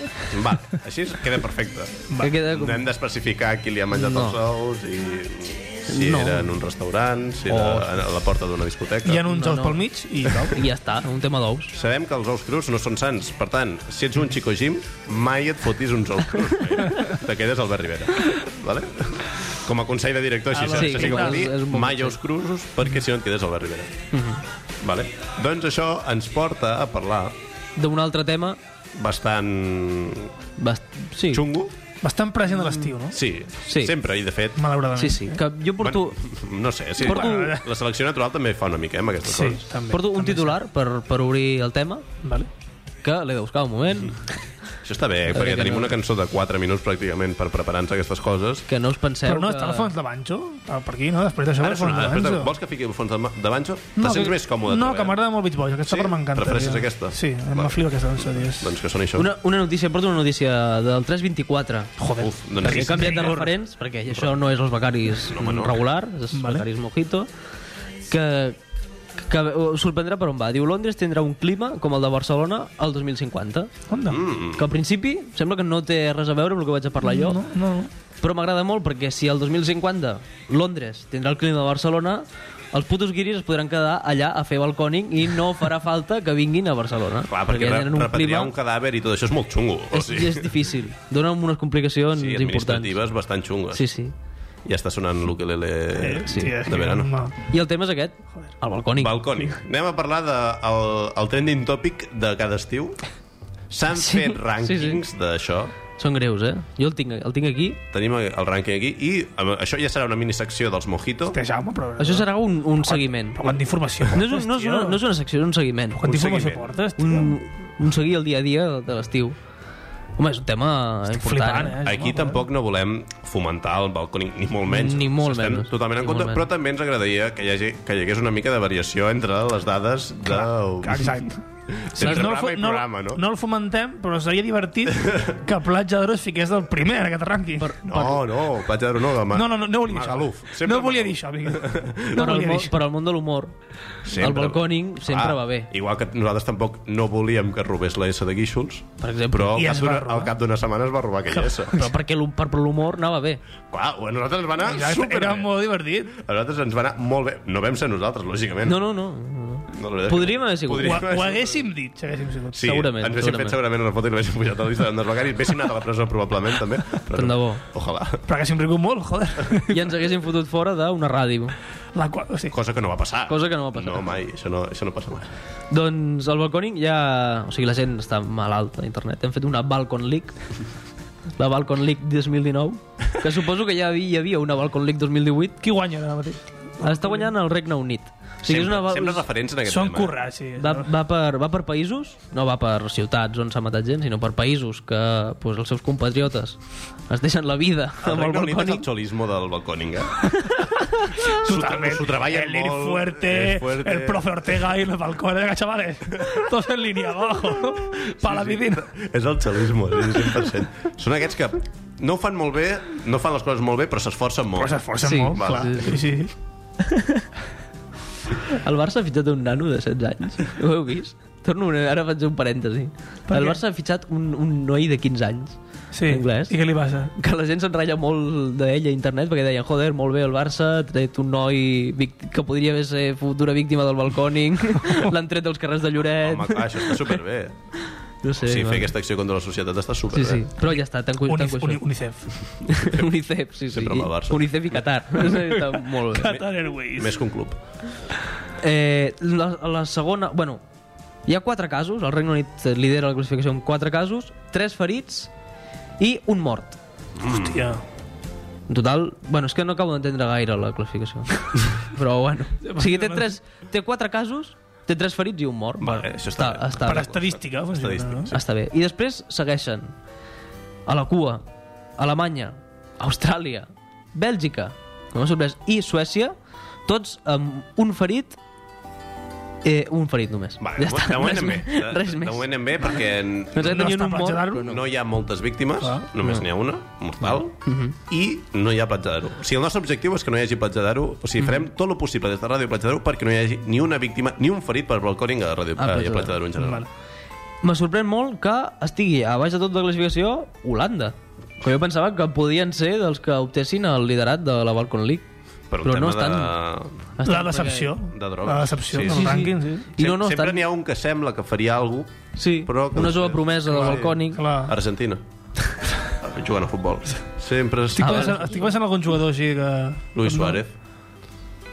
Speaker 1: Va, així queda perfecte.
Speaker 3: Que queda
Speaker 1: No hem d'especificar qui li ha menjat
Speaker 3: No.
Speaker 1: els ous i si
Speaker 3: No.
Speaker 1: era en un restaurant, si era a la porta d'una discoteca.
Speaker 2: Hi ha uns
Speaker 3: No,
Speaker 2: ous
Speaker 3: no.
Speaker 2: pel mig i tal.
Speaker 3: I ja està, un tema d'ous.
Speaker 1: Sabem que els ous crus no són sants. Per tant, si ets un xico gym, mai et fotis uns ous crus. mira. Te quedes al Albert Rivera. Vale? Com a consell de director, així,
Speaker 3: Ah,
Speaker 1: sí,
Speaker 3: sí,
Speaker 1: sí que
Speaker 3: clar,
Speaker 1: vol dir
Speaker 3: és un bon
Speaker 1: mai
Speaker 3: consell. Mhm.
Speaker 1: ous crusos perquè si no et quedes al Albert Rivera. vale? Doncs això ens porta a parlar
Speaker 3: D'un altre tema...
Speaker 1: bastant
Speaker 3: Bast... Sí.
Speaker 1: xungo.
Speaker 2: Bastant present a l'estiu, no?
Speaker 1: Sí,
Speaker 3: Sí.
Speaker 1: sempre, i de fet...
Speaker 2: Malauradament.
Speaker 3: Sí, sí. Que jo porto...
Speaker 1: Bueno, no sé, sí,
Speaker 3: Porto-
Speaker 1: bueno, la selecció natural també fa una mica, eh, amb aquestes
Speaker 2: Sí,
Speaker 1: coses.
Speaker 2: també.
Speaker 3: Porto un
Speaker 2: també
Speaker 3: titular per, per obrir el tema,
Speaker 2: sí. Vale.
Speaker 3: que l'he de buscar un moment,
Speaker 1: Això està bé, eh, perquè
Speaker 3: que
Speaker 1: tenim
Speaker 3: no.
Speaker 1: una cançó de 4 minuts pràcticament per preparar-nos aquestes coses.
Speaker 3: que no us penseu
Speaker 2: Però no,
Speaker 3: que...
Speaker 2: està al fons de Banjo? Per per aquí, no? Després d'això,
Speaker 1: Ara
Speaker 2: al fons
Speaker 1: sonarà,
Speaker 2: de
Speaker 1: després de,
Speaker 2: Banjo.
Speaker 1: vols que fiqui el fons de, ma- de banjo? Te sents
Speaker 2: que-
Speaker 1: més còmode?
Speaker 2: No,
Speaker 1: tu,
Speaker 2: que
Speaker 1: eh?
Speaker 2: m'agrada molt Beach Boys. Aquesta
Speaker 1: Sí?
Speaker 2: part m'encanta.
Speaker 1: Prefereixes
Speaker 2: tio.
Speaker 1: aquesta?
Speaker 2: Sí, em
Speaker 1: Vale.
Speaker 2: flipa aquesta cançó, dies.
Speaker 1: Doncs que soni això.
Speaker 3: Una, una notícia, porto una notícia del 324.
Speaker 2: Joder.
Speaker 1: Uf, doncs
Speaker 3: Perquè
Speaker 1: sí,
Speaker 3: he canviat de referents, perquè això no és els becaris
Speaker 1: no.
Speaker 3: regular, és
Speaker 2: Vale.
Speaker 3: vale. becaris mojito, que, que us sorprendrà per on va. Diu, Londres tindrà un clima com el de Barcelona al 2050.
Speaker 2: Onda.
Speaker 3: Mm. Que al principi sembla que no té res a veure amb el que vaig a parlar jo,
Speaker 2: No, no, no.
Speaker 3: però m'agrada molt perquè si al 2050 Londres tindrà el clima de Barcelona, els putos guiris es podran quedar allà a fer balcòning i no farà falta que vinguin a Barcelona.
Speaker 1: Clar, perquè,
Speaker 3: ja
Speaker 1: perquè
Speaker 3: tenen
Speaker 1: un repetirà un cadàver i tot això és molt xungo. O
Speaker 3: és,
Speaker 1: sigui,
Speaker 3: és difícil. Dóna unes complicacions
Speaker 1: sí,
Speaker 3: importants.
Speaker 1: administratives bastant xungues.
Speaker 3: Sí, sí.
Speaker 1: Ja està sonant l'ukelele
Speaker 3: Sí.
Speaker 2: Tio,
Speaker 1: de
Speaker 2: és que
Speaker 1: verano.
Speaker 2: no.
Speaker 3: I el tema és aquest, el balcònic.
Speaker 1: Balcònic. Anem a parlar del de, el, el trending topic de cada estiu. S'han
Speaker 3: Sí,
Speaker 1: fet rànquings d'això.
Speaker 3: Són greus, eh? Jo el tinc, el tinc aquí.
Speaker 1: Tenim el rànquing aquí. I amb- això ja serà una minissecció dels Mojito.
Speaker 2: Té Jaume, però...
Speaker 3: Això serà un, un seguiment.
Speaker 2: Però quanta informació
Speaker 3: No és, un, no, és una, no és una secció, és un seguiment.
Speaker 2: Quanta
Speaker 1: Un
Speaker 2: informació
Speaker 1: seguiment.
Speaker 2: portes, tio?
Speaker 3: Un, un seguir el dia a dia de l'estiu. Home, és un tema important.
Speaker 2: flipant, eh?
Speaker 1: Aquí tampoc no volem fomentar el balcònic, ni molt menys.
Speaker 3: Ni molt
Speaker 1: Estem
Speaker 3: menys.
Speaker 1: totalment en
Speaker 3: Ni
Speaker 1: compte,
Speaker 3: molt
Speaker 1: però
Speaker 3: menys.
Speaker 1: també ens agradaria que hi, hagi, que hi hagués una mica de variació entre les dades de...
Speaker 2: Exacte.
Speaker 1: Sí,
Speaker 2: Saps,
Speaker 1: programa i programa, no?
Speaker 2: no el fomentem, però seria divertit que Platja d'Oro es fiqués del primer en aquest rànquing. Per,
Speaker 1: No, no, Platja d'Aro no, demà.
Speaker 2: No, no, no, no volia dir això.
Speaker 1: Magaluf.
Speaker 2: no volia dir això, Miguel. No
Speaker 3: Però al,
Speaker 2: volia dir
Speaker 3: món,
Speaker 2: això.
Speaker 3: per al món de l'humor,
Speaker 1: Sempre. Ah.
Speaker 3: el balcònic sempre va bé.
Speaker 1: Igual que nosaltres tampoc no volíem que robés la S de Guíxols,
Speaker 3: Per exemple.
Speaker 1: però al
Speaker 2: I
Speaker 1: cap
Speaker 2: es va
Speaker 1: d'una-
Speaker 2: robar.
Speaker 1: al cap d'una setmana es va robar aquella S.
Speaker 3: Però perquè l'hu- per l'humor anava bé.
Speaker 1: Clar, a nosaltres ens va anar
Speaker 2: Ah, Exacte,
Speaker 1: superbé.
Speaker 2: Era molt divertit.
Speaker 1: A nosaltres ens va anar molt bé. No vam ser nosaltres, lògicament.
Speaker 3: No, no, no.
Speaker 1: No, la veritat és que
Speaker 3: Podríem
Speaker 1: no.
Speaker 3: haver sigut.
Speaker 1: Podríem
Speaker 2: Ho,
Speaker 1: haver
Speaker 2: ho
Speaker 1: sigut.
Speaker 2: haguéssim dit, si haguéssim sigut.
Speaker 1: Sí,
Speaker 3: Segurament,
Speaker 1: ens haguéssim
Speaker 3: segurament.
Speaker 1: fet segurament una foto i l'haguéssim pujat a la lista dels becaris. Hauríem anat a la presó, probablement, també. Però
Speaker 3: Tant de bo.
Speaker 1: Ojalà.
Speaker 2: Però haguéssim rigut molt, joder.
Speaker 3: I ens haguéssim fotut fora d'una ràdio.
Speaker 2: La qual, o sigui,
Speaker 1: Cosa que no va passar.
Speaker 3: Cosa que no va passar.
Speaker 1: No, mai. Això no, això no passa mai.
Speaker 3: Doncs el balconing ja... O sigui, la gent està malalta a internet. Hem fet una Balcon League. La Balcon League 2019. Que suposo que ja hi havia, hi havia una Balcon League 2018.
Speaker 2: qui guanya ara mateix?
Speaker 3: Està guanyant el Regne Unit. O sigui, és
Speaker 1: Sempre,
Speaker 3: una... va-
Speaker 1: sempre referents en aquest
Speaker 2: Són
Speaker 1: tema. eh?
Speaker 2: currats, sí.
Speaker 3: Va, va, per, va per països, no va per ciutats on s'ha matat gent, sinó per països que pues, els seus compatriotes es deixen la vida
Speaker 1: El
Speaker 3: amb el
Speaker 1: Regne Unit és el
Speaker 3: balcònic.
Speaker 1: xolismo del balcòning, eh? S'ho tra- S'ho treballen
Speaker 2: el ir
Speaker 1: molt.
Speaker 2: fuerte,
Speaker 1: és fuerte.
Speaker 2: el profe Ortega y los balcones, venga, chavales. Todos en línea, abajo. Para la piscina.
Speaker 1: És el xalismo, sí, 100%. Són aquests que no ho fan molt bé, no fan les coses molt bé, però s'esforcen molt.
Speaker 2: Però s'esforcen
Speaker 3: Sí,
Speaker 2: molt,
Speaker 1: va.
Speaker 2: clar. Sí, sí.
Speaker 3: El Barça ha fitxat un nano de 16 anys, ho heu vist? Torno, una- ara faig un parèntesi.
Speaker 2: Per
Speaker 3: El
Speaker 2: què?
Speaker 3: Barça ha fitxat un, un noi de 15 anys,
Speaker 2: sí.
Speaker 3: Anglès.
Speaker 2: I què li passa?
Speaker 3: que la gent s'enratlla molt d'ell a internet perquè deien, joder, molt bé el Barça, ha tret un noi vic- que podria haver ser futura víctima del balcòning, l'han tret dels carrers de Lloret...
Speaker 1: Home, clar, això està superbé.
Speaker 3: no sé,
Speaker 1: Sí, sí
Speaker 3: va.
Speaker 1: fer aquesta acció contra la societat està
Speaker 3: Sí,
Speaker 1: superbé.
Speaker 3: sí, però ja està, tanco,
Speaker 2: Uni,
Speaker 3: tanco això.
Speaker 2: uni, UNICEF.
Speaker 3: Unicef, sí, sí.
Speaker 1: Sempre amb el Barça.
Speaker 3: Unicef i Qatar. Està molt bé.
Speaker 2: Qatar Airways.
Speaker 1: Més que un club.
Speaker 3: Eh, la, la segona... Bueno, hi ha quatre casos. El Regne Unit lidera la classificació amb quatre casos, tres ferits i un mort.
Speaker 2: Hòstia.
Speaker 3: En total, bueno, és que no acabo d'entendre gaire la classificació. Però bueno. O sigui, té, tres, té quatre casos, té tres ferits i un mort.
Speaker 1: Vale,
Speaker 3: Bueno,
Speaker 1: això està bé.
Speaker 3: està,
Speaker 2: Per
Speaker 3: bé.
Speaker 2: estadística, funciona,
Speaker 1: Estadístic,
Speaker 2: no?
Speaker 1: Ah, sí.
Speaker 3: Està bé. I després segueixen a la cua, Alemanya, Austràlia, Bèlgica, que m'ha sorprès, i Suècia, tots amb un ferit Eh, un ferit només.
Speaker 1: Va, de, de moment
Speaker 3: res,
Speaker 1: anem bé.
Speaker 3: més,
Speaker 1: De,
Speaker 3: res més.
Speaker 1: de moment anem bé perquè n-
Speaker 3: Doncs ja
Speaker 2: No
Speaker 3: tenien
Speaker 2: està
Speaker 3: un
Speaker 2: per
Speaker 3: mort,
Speaker 2: gelar-ho.
Speaker 1: no hi ha moltes víctimes,
Speaker 2: Clar.
Speaker 1: només n'hi ha una, mortal, i no hi ha platja d'aro. O sigui, el nostre objectiu és que no hi hagi platja d'aro, o sigui, farem tot el possible des de Ràdio Platja d'Aro perquè no hi hagi ni una víctima, ni un ferit per balcòning a Ràdio eh,
Speaker 3: Ah,
Speaker 1: a
Speaker 3: Platja
Speaker 1: Platja d'Aro en general.
Speaker 2: Vale.
Speaker 3: Me sorprèn molt que estigui a baix de tot de classificació Holanda. Que jo pensava que podien ser dels que optessin el liderat de la Balcon League.
Speaker 1: Per un
Speaker 3: Però
Speaker 1: tema
Speaker 3: no estan...
Speaker 1: de...
Speaker 3: estan
Speaker 2: La decepció.
Speaker 1: De drogues.
Speaker 2: La decepció,
Speaker 1: Sí,
Speaker 2: sí,
Speaker 1: sí,
Speaker 2: sí,
Speaker 1: sí.
Speaker 2: sí. rànquing, sí.
Speaker 3: I no, no,
Speaker 1: sempre
Speaker 3: estan...
Speaker 1: n'hi ha un que sembla que faria alguna cosa.
Speaker 3: Sí,
Speaker 1: però que
Speaker 3: una
Speaker 1: després-
Speaker 3: jove promesa del
Speaker 1: Clar,
Speaker 3: balcònic.
Speaker 2: Clar.
Speaker 1: Argentina. Jugant a futbol. Sempre...
Speaker 2: Estic,
Speaker 1: Ah,
Speaker 2: pensant, estic pensant en algun jugador així que...
Speaker 1: Luis Suárez.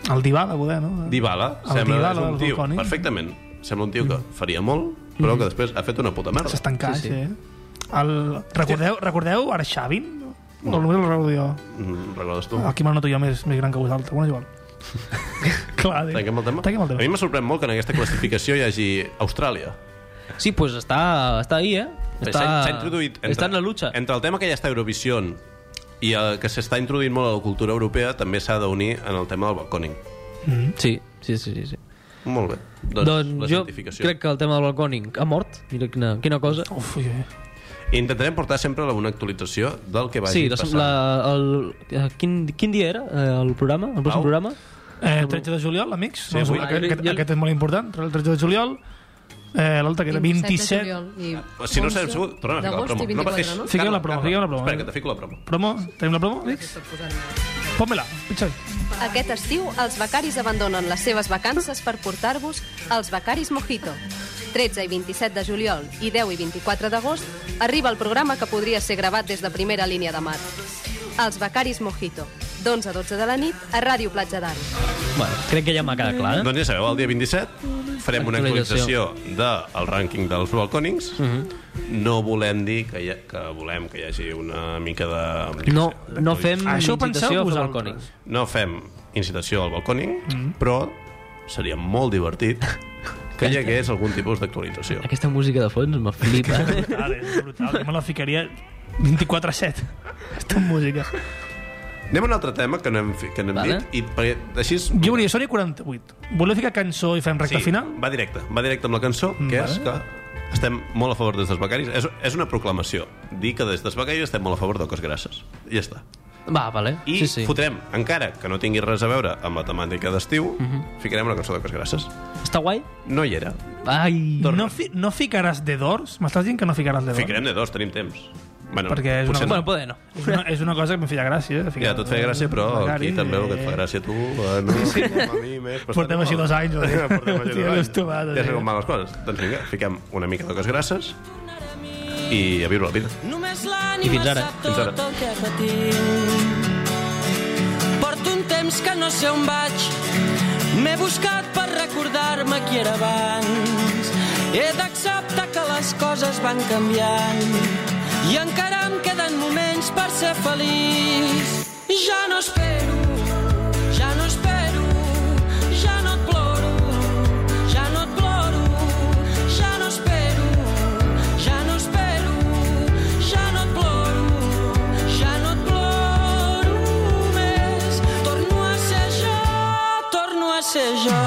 Speaker 2: El Dybala, poder, no?
Speaker 1: Dybala.
Speaker 2: El
Speaker 1: Sembla
Speaker 2: Dybala
Speaker 1: és un
Speaker 2: del
Speaker 1: tio,
Speaker 2: balcònic.
Speaker 1: perfectament. Sembla un tio que faria molt, però que després ha fet una puta merda.
Speaker 2: S'està en cas,
Speaker 3: Sí,
Speaker 2: sí.
Speaker 3: sí.
Speaker 2: sí. El... Recordeu, recordeu ara Xavin? No. O només el recordo jo.
Speaker 1: Mm, Recordes tu?
Speaker 2: Aquí me'l noto jo més, més gran que vosaltres. Bueno, és igual. Clar, dic.
Speaker 1: Tanquem el tema?
Speaker 2: Tanquem el
Speaker 1: A mi
Speaker 2: tema.
Speaker 1: m'ha sorprèn molt que en aquesta classificació hi hagi Austràlia.
Speaker 3: Sí, pues està, està ahí, eh? Està,
Speaker 1: S'ha- s'ha introduït
Speaker 3: està en la lucha.
Speaker 1: Entre el tema que ja està a Eurovisió i el que s'està introduint molt a la cultura europea, també s'ha d'unir en el tema del balcòning.
Speaker 3: Sí, sí, sí, sí. sí.
Speaker 1: Molt bé. Doncs,
Speaker 3: Doncs
Speaker 1: la
Speaker 3: jo
Speaker 1: certificació.
Speaker 3: crec que el tema del balcònic ha mort. Mira quina, quina cosa.
Speaker 2: Uf, ui, ui.
Speaker 1: Intentarem portar sempre una actualització del que vagi
Speaker 3: Sí, la,
Speaker 1: passant.
Speaker 3: la, el, eh, quin, quin dia era eh, el programa? El pròxim
Speaker 1: Pau?
Speaker 3: programa?
Speaker 2: Eh, 13 de juliol, amics.
Speaker 1: Sí, avui.
Speaker 2: aquest, aquest,
Speaker 3: Jo-
Speaker 2: aquest, és molt important. El 13 de juliol. Eh, L'altre, que era 27...
Speaker 1: Ah, Si no s'ha sigut, torna a ficar la
Speaker 7: D'agost
Speaker 1: promo.
Speaker 7: i 24, no?
Speaker 1: pateixis.
Speaker 2: Fiquem la
Speaker 1: Carla,
Speaker 2: promo,
Speaker 1: Carla,
Speaker 2: fiquem la promo. eh?
Speaker 1: Espera, que te fico la promo.
Speaker 2: Promo? Tenim la promo, amics? Pon-me-la, pitjor.
Speaker 4: Aquest estiu, els becaris abandonen les seves vacances per portar-vos els Becaris Mojito. 13 i 27 de juliol i 10 i 24 d'agost arriba el programa que podria ser gravat des de primera línia de mar. Els Becaris Mojito, d'11 a 12 de la nit a Ràdio Platja d'Aro.
Speaker 3: Bueno, crec que ja m'ha quedat clar, eh?
Speaker 1: Doncs ja sabeu, el dia 27 farem una
Speaker 3: Actualització.
Speaker 1: actualització
Speaker 3: Mhm.
Speaker 1: del rànquing dels balcònings. No volem dir que, hi ha, que volem que hi hagi una mica de...
Speaker 3: No, no fem
Speaker 2: Això ho
Speaker 3: incitació
Speaker 2: penseu
Speaker 3: a fer
Speaker 2: vosaltres?
Speaker 3: balcònics.
Speaker 1: No fem incitació al balcòning,
Speaker 3: Mhm.
Speaker 1: però seria molt divertit que hi hagués algun tipus d'actualització.
Speaker 3: Aquesta música de fons me flipa.
Speaker 2: Brutal, és brutal. Jo me la ficaria 24 a 7. Aquesta música.
Speaker 1: Anem a un altre tema que no hem, fi- que no hem
Speaker 3: Vale.
Speaker 1: dit i perquè, així... és-
Speaker 2: Jo volia Sony 48. Voleu ficar cançó i fem recta
Speaker 1: Sí,
Speaker 2: final?
Speaker 1: Va directe, va directe amb la cançó, que
Speaker 2: vale.
Speaker 1: és que estem molt a favor des dels becaris. És, és una proclamació. Dir que des dels becaris estem molt a favor de coses grasses. I ja està.
Speaker 3: Va, vale.
Speaker 1: I
Speaker 3: sí, sí.
Speaker 1: fotrem, encara que no tingui res a veure amb la temàtica d'estiu,
Speaker 2: Mhm.
Speaker 1: ficarem una cançó de coses grasses.
Speaker 3: Està guai?
Speaker 1: No hi era.
Speaker 3: Ai.
Speaker 2: No, fi, no ficaràs The Doors? M'estàs dient que no ficaràs The Doors?
Speaker 1: Ficarem de dos, tenim temps. Bueno,
Speaker 2: perquè és una,
Speaker 1: potser
Speaker 2: cosa,
Speaker 1: no.
Speaker 3: Bueno, poder no.
Speaker 2: és, una, és una cosa que em feia gràcia.
Speaker 1: Ja, tot feia gràcia, però aquí també el que et fa gràcia a tu, a mi, sí, a mi més... però
Speaker 2: Portem
Speaker 1: està
Speaker 2: així
Speaker 1: mal.
Speaker 2: dos anys, eh?
Speaker 1: Portem així
Speaker 2: Estic
Speaker 1: dos anys.
Speaker 2: acostumat,
Speaker 1: Ja sé
Speaker 2: sí.
Speaker 1: com van les coses. Doncs vinga, fiquem una mica de coses grasses i a viure la vida.
Speaker 11: Només
Speaker 3: I
Speaker 11: l'ànima
Speaker 3: fins ara.
Speaker 11: sap
Speaker 1: Fins
Speaker 11: tot
Speaker 1: ara.
Speaker 11: el que patim. Porto un temps que no sé on vaig, m'he buscat per recordar-me qui era abans. He d'acceptar que les coses van canviant i encara em queden moments per ser feliç. Ja no espero, ja no espero, ja no et ploro, ja no et ploro, ja no espero, ja no espero, ja no et ploro, ja no et ploro més. Torno a ser jo, torno a ser jo.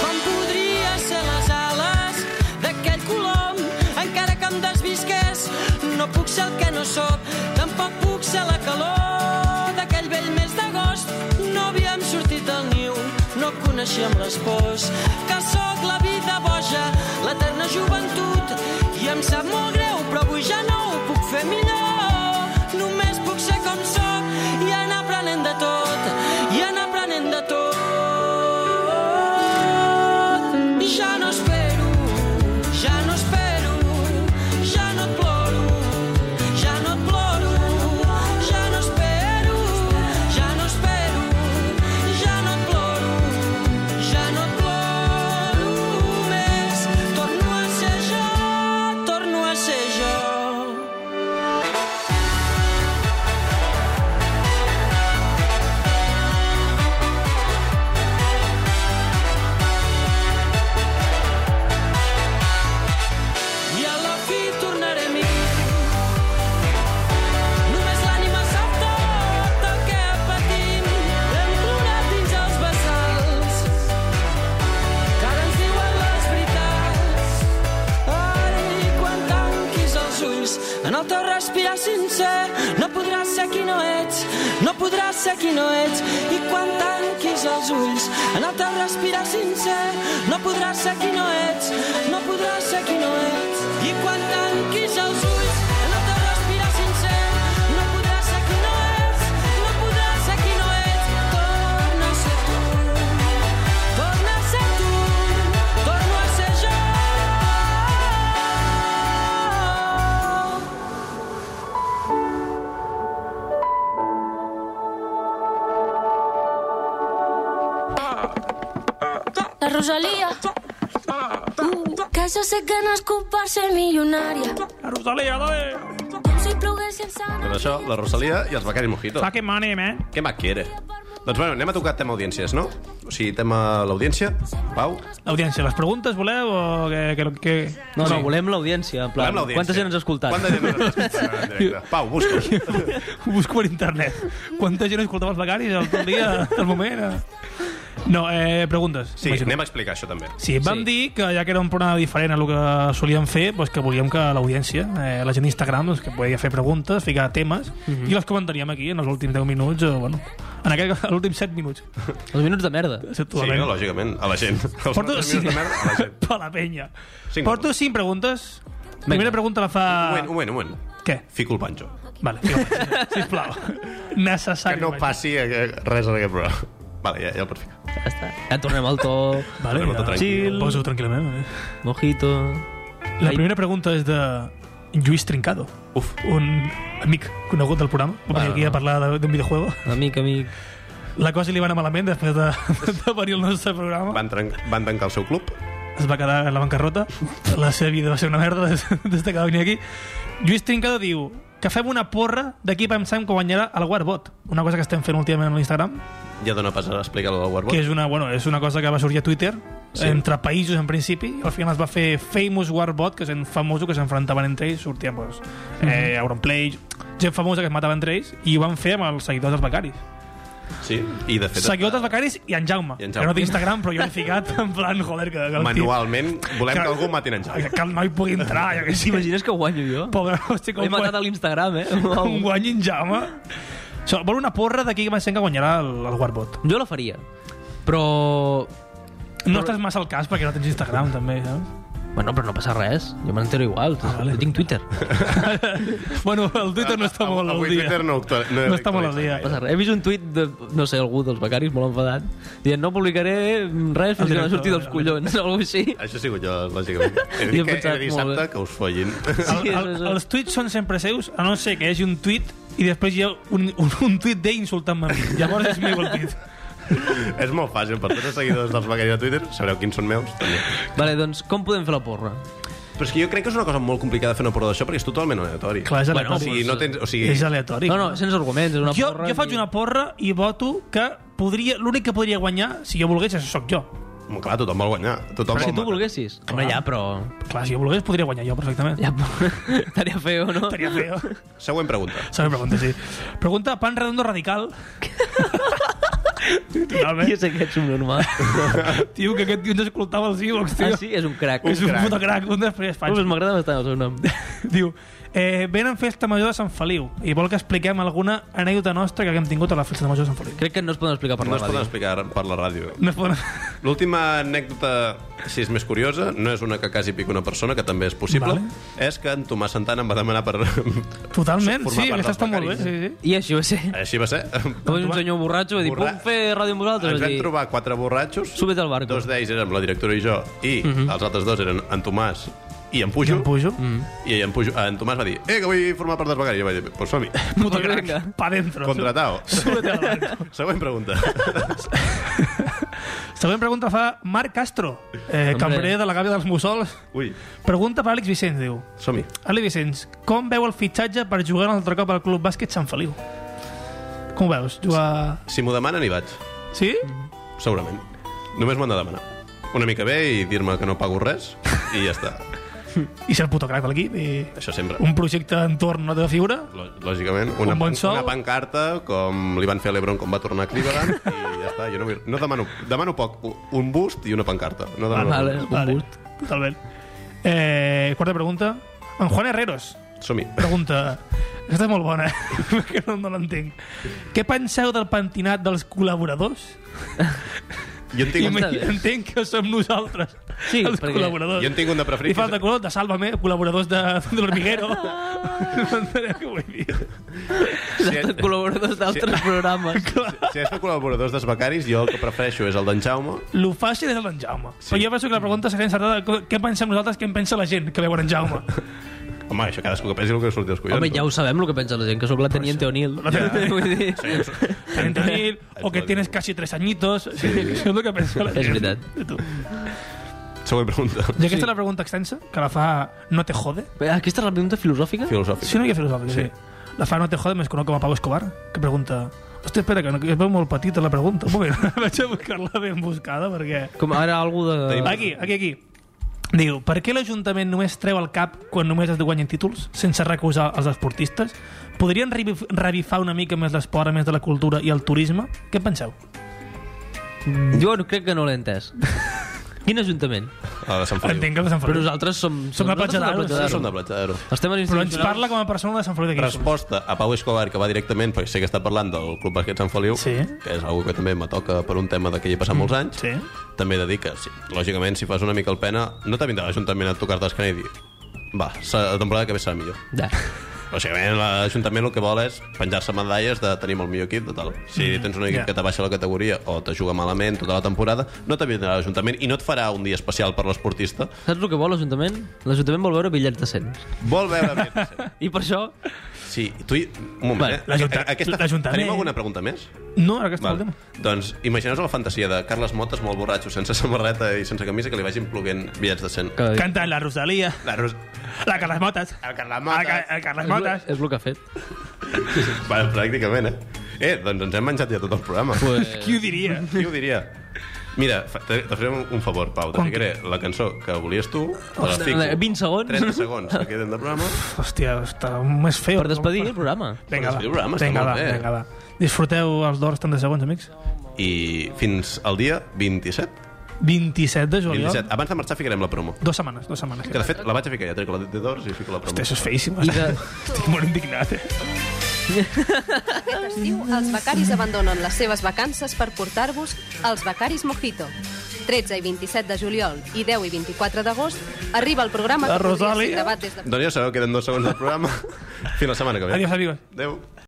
Speaker 11: Com podria ser les ales d'aquell colom, encara que em desvisqués. No puc ser el que no sóc, tampoc puc ser la calor d'aquell vell mes d'agost. No havíem sortit del niu, no coneixíem les pors, que sóc la vida boja, l'eterna joventut. I em sap molt greu, però avui ja no ho puc fer millor. Només puc ser com sóc i anar aprenent de tot, i anar aprenent de tot. Ja no espero, ja no espero, ja no et ploro, ja no et ploro, ja no espero, ja no espero, ja no et ploro, ja no et ploro més. Torno a ser jo, torno a ser jo. i a la fi tornaré a mi. Només l'ànima sap tot el que patim. Hem plorat dins els vessals, que ara ens diuen les veritats. Ai, quan tanquis els ulls, en el teu respirar sincer, no podràs ser qui no ets, no podràs ser qui no ets. I quan tanquis els ulls, en el teu respirar sincer, no podràs ser qui no ets, no podràs ser qui no ets. I quan tanquis els ulls, en el teu respirar sincer, no podràs ser qui no ets, no podràs ser qui no ets. Torna a ser tu, torna a ser tu, torno a ser jo.
Speaker 8: La Rosalía. Que jo sé que nascut per ser milionària.
Speaker 2: La Rosalia, dale!
Speaker 8: Com si ploguessin sant...
Speaker 1: Doncs això, la Rosalia i els Becaris Mojito.
Speaker 2: Fucking money, man!
Speaker 1: Què maquera. Doncs bueno, anem a tocar tema audiències, no? O sigui, tema l'audiència, Pau.
Speaker 2: Audiència, les preguntes voleu o que... que, que...
Speaker 3: No, no, volem l'audiència. en plan,
Speaker 1: Parlem l'audiència.
Speaker 3: Quanta gent ens ha escoltat?
Speaker 1: Quanta gent ens ha escoltat en directe? Pau, busca
Speaker 2: Ho busco per internet. Quanta gent escoltava els becaris el tot dia, al moment? eh? No, eh, preguntes.
Speaker 1: Sí,
Speaker 2: imagino.
Speaker 1: anem a explicar això també.
Speaker 2: Sí,
Speaker 3: Sí.
Speaker 2: vam sí. dir que ja que era un programa diferent a el que solíem fer, doncs que volíem que l'audiència, eh, la gent d'Instagram, doncs que podia fer preguntes, ficar temes,
Speaker 1: Mhm.
Speaker 2: i les comentaríem aquí en els últims 10 minuts, o bueno, en aquell cas, els últims 7 minuts.
Speaker 3: Els minuts de merda.
Speaker 1: Sí, no, lògicament, a la gent. Els
Speaker 2: Porto,
Speaker 1: nostres
Speaker 2: sí,
Speaker 1: minuts de merda, a la gent.
Speaker 2: per la penya.
Speaker 1: Cinc
Speaker 2: Porto
Speaker 1: minuts.
Speaker 2: 5 preguntes. La primera pregunta la fa...
Speaker 1: Un moment, un moment, un moment.
Speaker 2: Què?
Speaker 1: Fico el panxo.
Speaker 2: Vale, fila, sisplau.
Speaker 1: Que
Speaker 2: Necessari.
Speaker 1: no passi eh, que- res en aquest programa. Vale, ja, ja el pots ficar.
Speaker 3: Ja està. Ja tornem al to,
Speaker 2: Vale,
Speaker 1: Tornem-ho tot
Speaker 2: ja.
Speaker 1: tranquil.
Speaker 2: Chill. Posa-ho tranquil·lament. eh?
Speaker 3: mojito...
Speaker 2: La
Speaker 3: Ai.
Speaker 2: primera pregunta és de Lluís Trincado,
Speaker 1: Uf.
Speaker 2: un amic conegut del programa. Va venir aquí a parlar de- d'un videojuego.
Speaker 3: Amic, amic...
Speaker 2: La cosa li va anar malament després de, de venir al nostre programa.
Speaker 1: Van, tren- van tancar el seu club
Speaker 2: es va quedar a la bancarrota, la seva vida va ser una merda des, des de que va venir aquí. Lluís Trincado diu que fem una porra d'aquí pensant que guanyarà el Warbot, una cosa que estem fent últimament a l'Instagram,
Speaker 1: Ja dona pas a explicar-ho al Warbot.
Speaker 2: que és una, bueno, és una cosa que va sorgir a Twitter
Speaker 1: Sí.
Speaker 2: sí. entre països en principi i al final es va fer Famous Warbot que són famosos que s'enfrontaven entre ells sortien pues, eh, Auronplay gent famosa que es matava entre ells i ho van fer amb els seguidors dels becaris
Speaker 1: Sí, i de fet...
Speaker 2: seguidors dels becaris i en Jaume,
Speaker 1: I
Speaker 2: I
Speaker 1: en Jaume.
Speaker 2: en Jaume. que no té Instagram però jo l'he ficat en plan joder que, que el
Speaker 1: Manualment, volem que
Speaker 2: Que-
Speaker 1: algú mati en
Speaker 2: tio,
Speaker 1: Jaume.
Speaker 2: que el noi pugui entrar jo que sí,
Speaker 3: T'imagines que guanyo jo?
Speaker 2: pobre hosti com
Speaker 3: He matat a l'Instagram, eh?
Speaker 2: un
Speaker 3: Uau.
Speaker 2: guany en Jaume so, vol una porra d'aquí que va ser que guanyarà el, el Warbot
Speaker 3: Jo la faria. Però...
Speaker 2: no estàs massa al cas perquè no tens Instagram també saps?
Speaker 3: Bueno, però no passa res. Jo me n'entero igual. Ah,
Speaker 2: vale.
Speaker 3: Jo tinc Twitter.
Speaker 2: bueno, el Twitter no està molt al
Speaker 1: Avui
Speaker 2: dia.
Speaker 1: Twitter no, actua- no,
Speaker 2: No està molt al dia.
Speaker 3: No passa res. He vist un tuit de, no sé, algú dels becaris molt enfadat, dient no publicaré res fins que no
Speaker 2: director,
Speaker 3: surti dels
Speaker 2: el-
Speaker 3: collons, o alguna cosa així.
Speaker 1: Això he sigut jo, lògicament. He
Speaker 3: Jo he
Speaker 1: dit que
Speaker 3: pensat
Speaker 1: era
Speaker 3: molt
Speaker 1: dissabte
Speaker 3: bé.
Speaker 1: que us follin.
Speaker 2: El, el,
Speaker 3: Sí, sí, sí.
Speaker 2: els tuits són sempre seus, a no ser que hi hagi un tuit i després hi ha un, un, un tuit d'ell insultant-me a mi. Llavors és meu el tuit.
Speaker 1: és molt fàcil, per tots els seguidors dels becaris de Twitter, sabreu quins són meus, també.
Speaker 3: Vale, doncs com podem fer la porra?
Speaker 1: Però és que jo crec que és una cosa molt complicada fer una porra d'això perquè és totalment aleatori.
Speaker 2: Clar, és
Speaker 1: bueno, o
Speaker 2: aleatori.
Speaker 1: sigui, no tens... O sigui,
Speaker 2: És aleatori.
Speaker 3: No, no, sense arguments, és una
Speaker 2: jo,
Speaker 3: porra...
Speaker 2: jo faig
Speaker 3: i-
Speaker 2: una porra i voto que podria l'únic que podria guanyar, si jo volgués, és sóc jo.
Speaker 1: Home, clar, tothom vol guanyar. Tothom
Speaker 3: Però si
Speaker 1: vol
Speaker 3: tu
Speaker 1: matar.
Speaker 3: volguessis. Home, ja, però...
Speaker 2: Clar, si jo volgués, podria guanyar jo perfectament.
Speaker 3: Ja, estaria feo, no?
Speaker 2: Estaria feo.
Speaker 1: Següent pregunta.
Speaker 2: Sabe pregunta, sí. Pregunta Pan Redondo Radical.
Speaker 3: Jo
Speaker 2: Totalment.
Speaker 3: sé que ets un normal.
Speaker 2: Tio, que aquest tio ens escoltava els e-books, tio.
Speaker 3: Ah, sí? És un crac.
Speaker 2: És un puto crac, un després faig.
Speaker 3: Uf, M'agrada bastant el seu nom.
Speaker 2: Diu, eh, venen festa major de Sant Feliu i vol que expliquem alguna anècdota nostra que haguem tingut a la festa major de Sant Feliu.
Speaker 3: Crec que no es poden explicar per
Speaker 1: No
Speaker 3: la
Speaker 1: es poden
Speaker 3: ràdio.
Speaker 1: explicar per la ràdio.
Speaker 2: No es poden...
Speaker 1: L'última anècdota, si és més curiosa, no és una que quasi pica una persona, que també és possible,
Speaker 2: Vale.
Speaker 1: és que en Tomàs Santana em va demanar per...
Speaker 2: Totalment,
Speaker 1: Formar
Speaker 2: sí,
Speaker 1: part
Speaker 2: aquesta
Speaker 1: dels
Speaker 2: està molt bé.
Speaker 1: becaris.
Speaker 2: Sí, sí.
Speaker 3: I així va ser.
Speaker 1: Així va ser.
Speaker 3: Vaig un senyor borratxo i va
Speaker 1: Eh,
Speaker 3: dir,
Speaker 1: Borra-
Speaker 3: puc fer ràdio amb vosaltres?
Speaker 1: Ens
Speaker 3: Vaig
Speaker 1: vam
Speaker 3: dir,
Speaker 1: trobar quatre borratxos.
Speaker 3: Subi't al barco.
Speaker 1: Dos d'ells érem la directora i jo, i els altres dos eren en Tomàs i en Pujo.
Speaker 2: Jo em pujo.
Speaker 1: I en, Pujo, en Tomàs va dir, eh, que vull formar part dels becaris. Jo vaig dir, pues som-hi.
Speaker 2: Puto
Speaker 3: Pues
Speaker 2: crac,
Speaker 3: venga.
Speaker 2: pa dentro.
Speaker 1: Contratao.
Speaker 2: Súbete al barco.
Speaker 1: Següent pregunta.
Speaker 2: Següent pregunta fa Marc Castro, eh,
Speaker 3: Hombre.
Speaker 2: cambrer de la gàbia dels Mussols.
Speaker 1: Ui,
Speaker 2: Pregunta per Àlex Vicenç, diu.
Speaker 1: som-hi.
Speaker 2: Àlex Vicenç, com veu el fitxatge per jugar un altre cop al Club Bàsquet Sant Feliu? Com ho veus? Jugar...
Speaker 1: Si m'ho demanen, hi vaig.
Speaker 2: Sí?
Speaker 1: Segurament. Només m'ho han de demanar. Una mica bé i dir-me que no pago res i ja està.
Speaker 2: I ser el puto crac de l'equip i...
Speaker 1: Això sempre.
Speaker 2: Un projecte entorn a la teva figura?
Speaker 1: Lò- Lògicament, una,
Speaker 2: Un bon
Speaker 1: una
Speaker 2: sou.
Speaker 1: pancarta, com li van fer a l'Ebron quan va tornar a Cleveland, i ja està. Jo no, vull, no demano, demano poc, u- un bust i una pancarta. No demano
Speaker 2: Ah,
Speaker 3: Vale.
Speaker 1: res.
Speaker 3: Un gust.
Speaker 2: Totalment. Eh, quarta pregunta. En Juan Herreros
Speaker 1: Som-hi.
Speaker 2: pregunta... Aquesta és molt bona, eh? que no, no l'entenc. Què penseu del pentinat dels col·laboradors?
Speaker 1: Jo en tinc,
Speaker 2: Ima-
Speaker 1: un,
Speaker 3: bé.
Speaker 2: entenc que som nosaltres,
Speaker 3: Sí,
Speaker 2: els
Speaker 1: jo
Speaker 3: perquè-
Speaker 1: en
Speaker 2: col·laboradors.
Speaker 1: tinc un de
Speaker 2: Li
Speaker 1: preferit.
Speaker 2: falta color de Sálvame, col·laboradors de, de l'Hormiguero. no entenem què vull dir.
Speaker 1: Si,
Speaker 3: He estat col·laboradors d'altres programes.
Speaker 1: si és de col·laboradors dels becaris, jo el que prefereixo és el d'en Jaume.
Speaker 2: Lo fàcil és el d'en Jaume. Però jo penso que la pregunta seria encertada. Co- Què pensem nosaltres, què en pensa la gent que veuen en Jaume?
Speaker 1: Home, això cadascú que pensi el que surti dels collons.
Speaker 3: Home, ja ho sabem, el que pensa la gent, que sóc la Teniente O'Neill. Vull dir,
Speaker 2: Tenir, o que tienes casi tres añitos. Sí. Això és el que pensa la
Speaker 3: És
Speaker 2: gent.
Speaker 3: veritat.
Speaker 2: De tu.
Speaker 1: Següent pregunta.
Speaker 2: I aquesta sí. és la pregunta extensa, que la fa No te jode.
Speaker 3: Aquesta és la pregunta filosòfica?
Speaker 1: Filosòfic.
Speaker 2: Sí, una mica filosòfica, sí.
Speaker 1: Sí.
Speaker 2: sí. La fa No te jode, més conec com a Pau Escobar, que pregunta... Hòstia, espera, que, no, que es veu molt petita la pregunta. Un moment, vaig a buscar-la ben buscada, perquè...
Speaker 3: Com ara algú de...
Speaker 1: Tenim-
Speaker 2: Aquí, aquí, aquí. Diu, per què l'Ajuntament només treu el cap quan només es guanyen títols, sense recusar els esportistes? Podrien revif- revifar una mica més l'esport, a més de la cultura i el turisme? Què en penseu?
Speaker 3: Jo no- crec que no l'he entès. Quin ajuntament?
Speaker 1: A la Sant Feliu.
Speaker 2: Entenc que el de Sant
Speaker 3: Però
Speaker 2: Feliu.
Speaker 3: nosaltres som...
Speaker 2: Som la platja d'Aro,
Speaker 3: nosaltres som la
Speaker 1: Sí, som de
Speaker 3: platja d'Aro.
Speaker 1: Platja d'Aro.
Speaker 3: Els temes
Speaker 2: Però ens
Speaker 3: institucionals...
Speaker 2: parla com a persona de Sant Feliu de Guíxols.
Speaker 1: Resposta a Pau Escobar, que va directament, perquè sé que està parlant del Club Bàsquet Sant Feliu,
Speaker 2: Sí. Mm,
Speaker 1: que és algú que també me toca per un tema de que hi he passat molts anys.
Speaker 2: Sí.
Speaker 1: També he de dir que, sí, lògicament, si fas una mica el pena, no te vindrà l'Ajuntament a tocar-te l'escena i dir va, se- la temporada que ve serà millor.
Speaker 3: Ja.
Speaker 1: Lògicament, l'Ajuntament el que vol és penjar-se medalles de tenim el millor equip, total. Si tens un equip
Speaker 2: Ja.
Speaker 1: que te baixa la categoria o te juga malament tota la temporada, no te vindrà l'Ajuntament i no et farà un dia especial per l'esportista.
Speaker 3: Saps el que vol l'Ajuntament? L'Ajuntament vol veure bitllets de 100.
Speaker 1: Vol veure...
Speaker 3: I per això
Speaker 1: Sí, tu... i- Un moment,
Speaker 3: Vale,
Speaker 1: eh?
Speaker 2: l'Ajunta-
Speaker 1: A- Aquesta...
Speaker 2: l'Ajuntament.
Speaker 1: Tenim alguna pregunta més?
Speaker 2: No, ara que està el tema.
Speaker 1: Doncs imagineu la fantasia de Carles Motes molt borratxo, sense samarreta i sense camisa, que li vagin plovent bitllets de 100.
Speaker 3: Que...
Speaker 2: Cantant la Rosalia,
Speaker 1: La Ros...
Speaker 2: la Carles Motes,
Speaker 1: El Carles
Speaker 2: el,
Speaker 1: Motes.
Speaker 2: Ca- el Carles
Speaker 3: És, lo-
Speaker 2: Motes.
Speaker 3: és el que ha fet.
Speaker 1: Vale, pràcticament, eh? Eh, doncs ens hem menjat ja tot el programa.
Speaker 3: Pues...
Speaker 2: Qui ho diria?
Speaker 3: eh.
Speaker 1: Qui ho diria? Mira, fa- te, te faré un, un favor, Pau. Te
Speaker 2: Com
Speaker 1: ficaré la cançó que volies tu, te la fico.
Speaker 3: 20 segons.
Speaker 1: 30 segons que queden de programa.
Speaker 2: Hòstia, està més feo.
Speaker 3: Per despedir el programa.
Speaker 2: Vinga,
Speaker 1: Per
Speaker 2: va.
Speaker 1: despedir el programa, està
Speaker 2: Vinga,
Speaker 1: molt
Speaker 2: va,
Speaker 1: bé.
Speaker 2: vinga, va. Disfruteu els d'hores 30 segons, amics.
Speaker 1: I fins al dia 27.
Speaker 2: 27 de juliol.
Speaker 1: 27. Abans de marxar ficarem la promo.
Speaker 2: Dues setmanes, dues setmanes.
Speaker 1: Que de fet, la vaig a ficar ja, trec la de d'ors i fico la promo.
Speaker 2: Hòstia, això és feíssim.
Speaker 3: I de...
Speaker 2: Estic molt indignat, eh?
Speaker 4: Aquest estiu, els becaris abandonen les seves vacances per portar-vos els Becaris Mojito. 13 i 27 de juliol i 10 i 24 d'agost arriba el programa
Speaker 2: La
Speaker 4: que podria ser
Speaker 2: Rosalia.
Speaker 4: gravat des de
Speaker 1: Doncs ja sabeu, queden dos segons del programa. Fins la setmana que ve.
Speaker 2: Adiós, amigos.
Speaker 1: Adéu.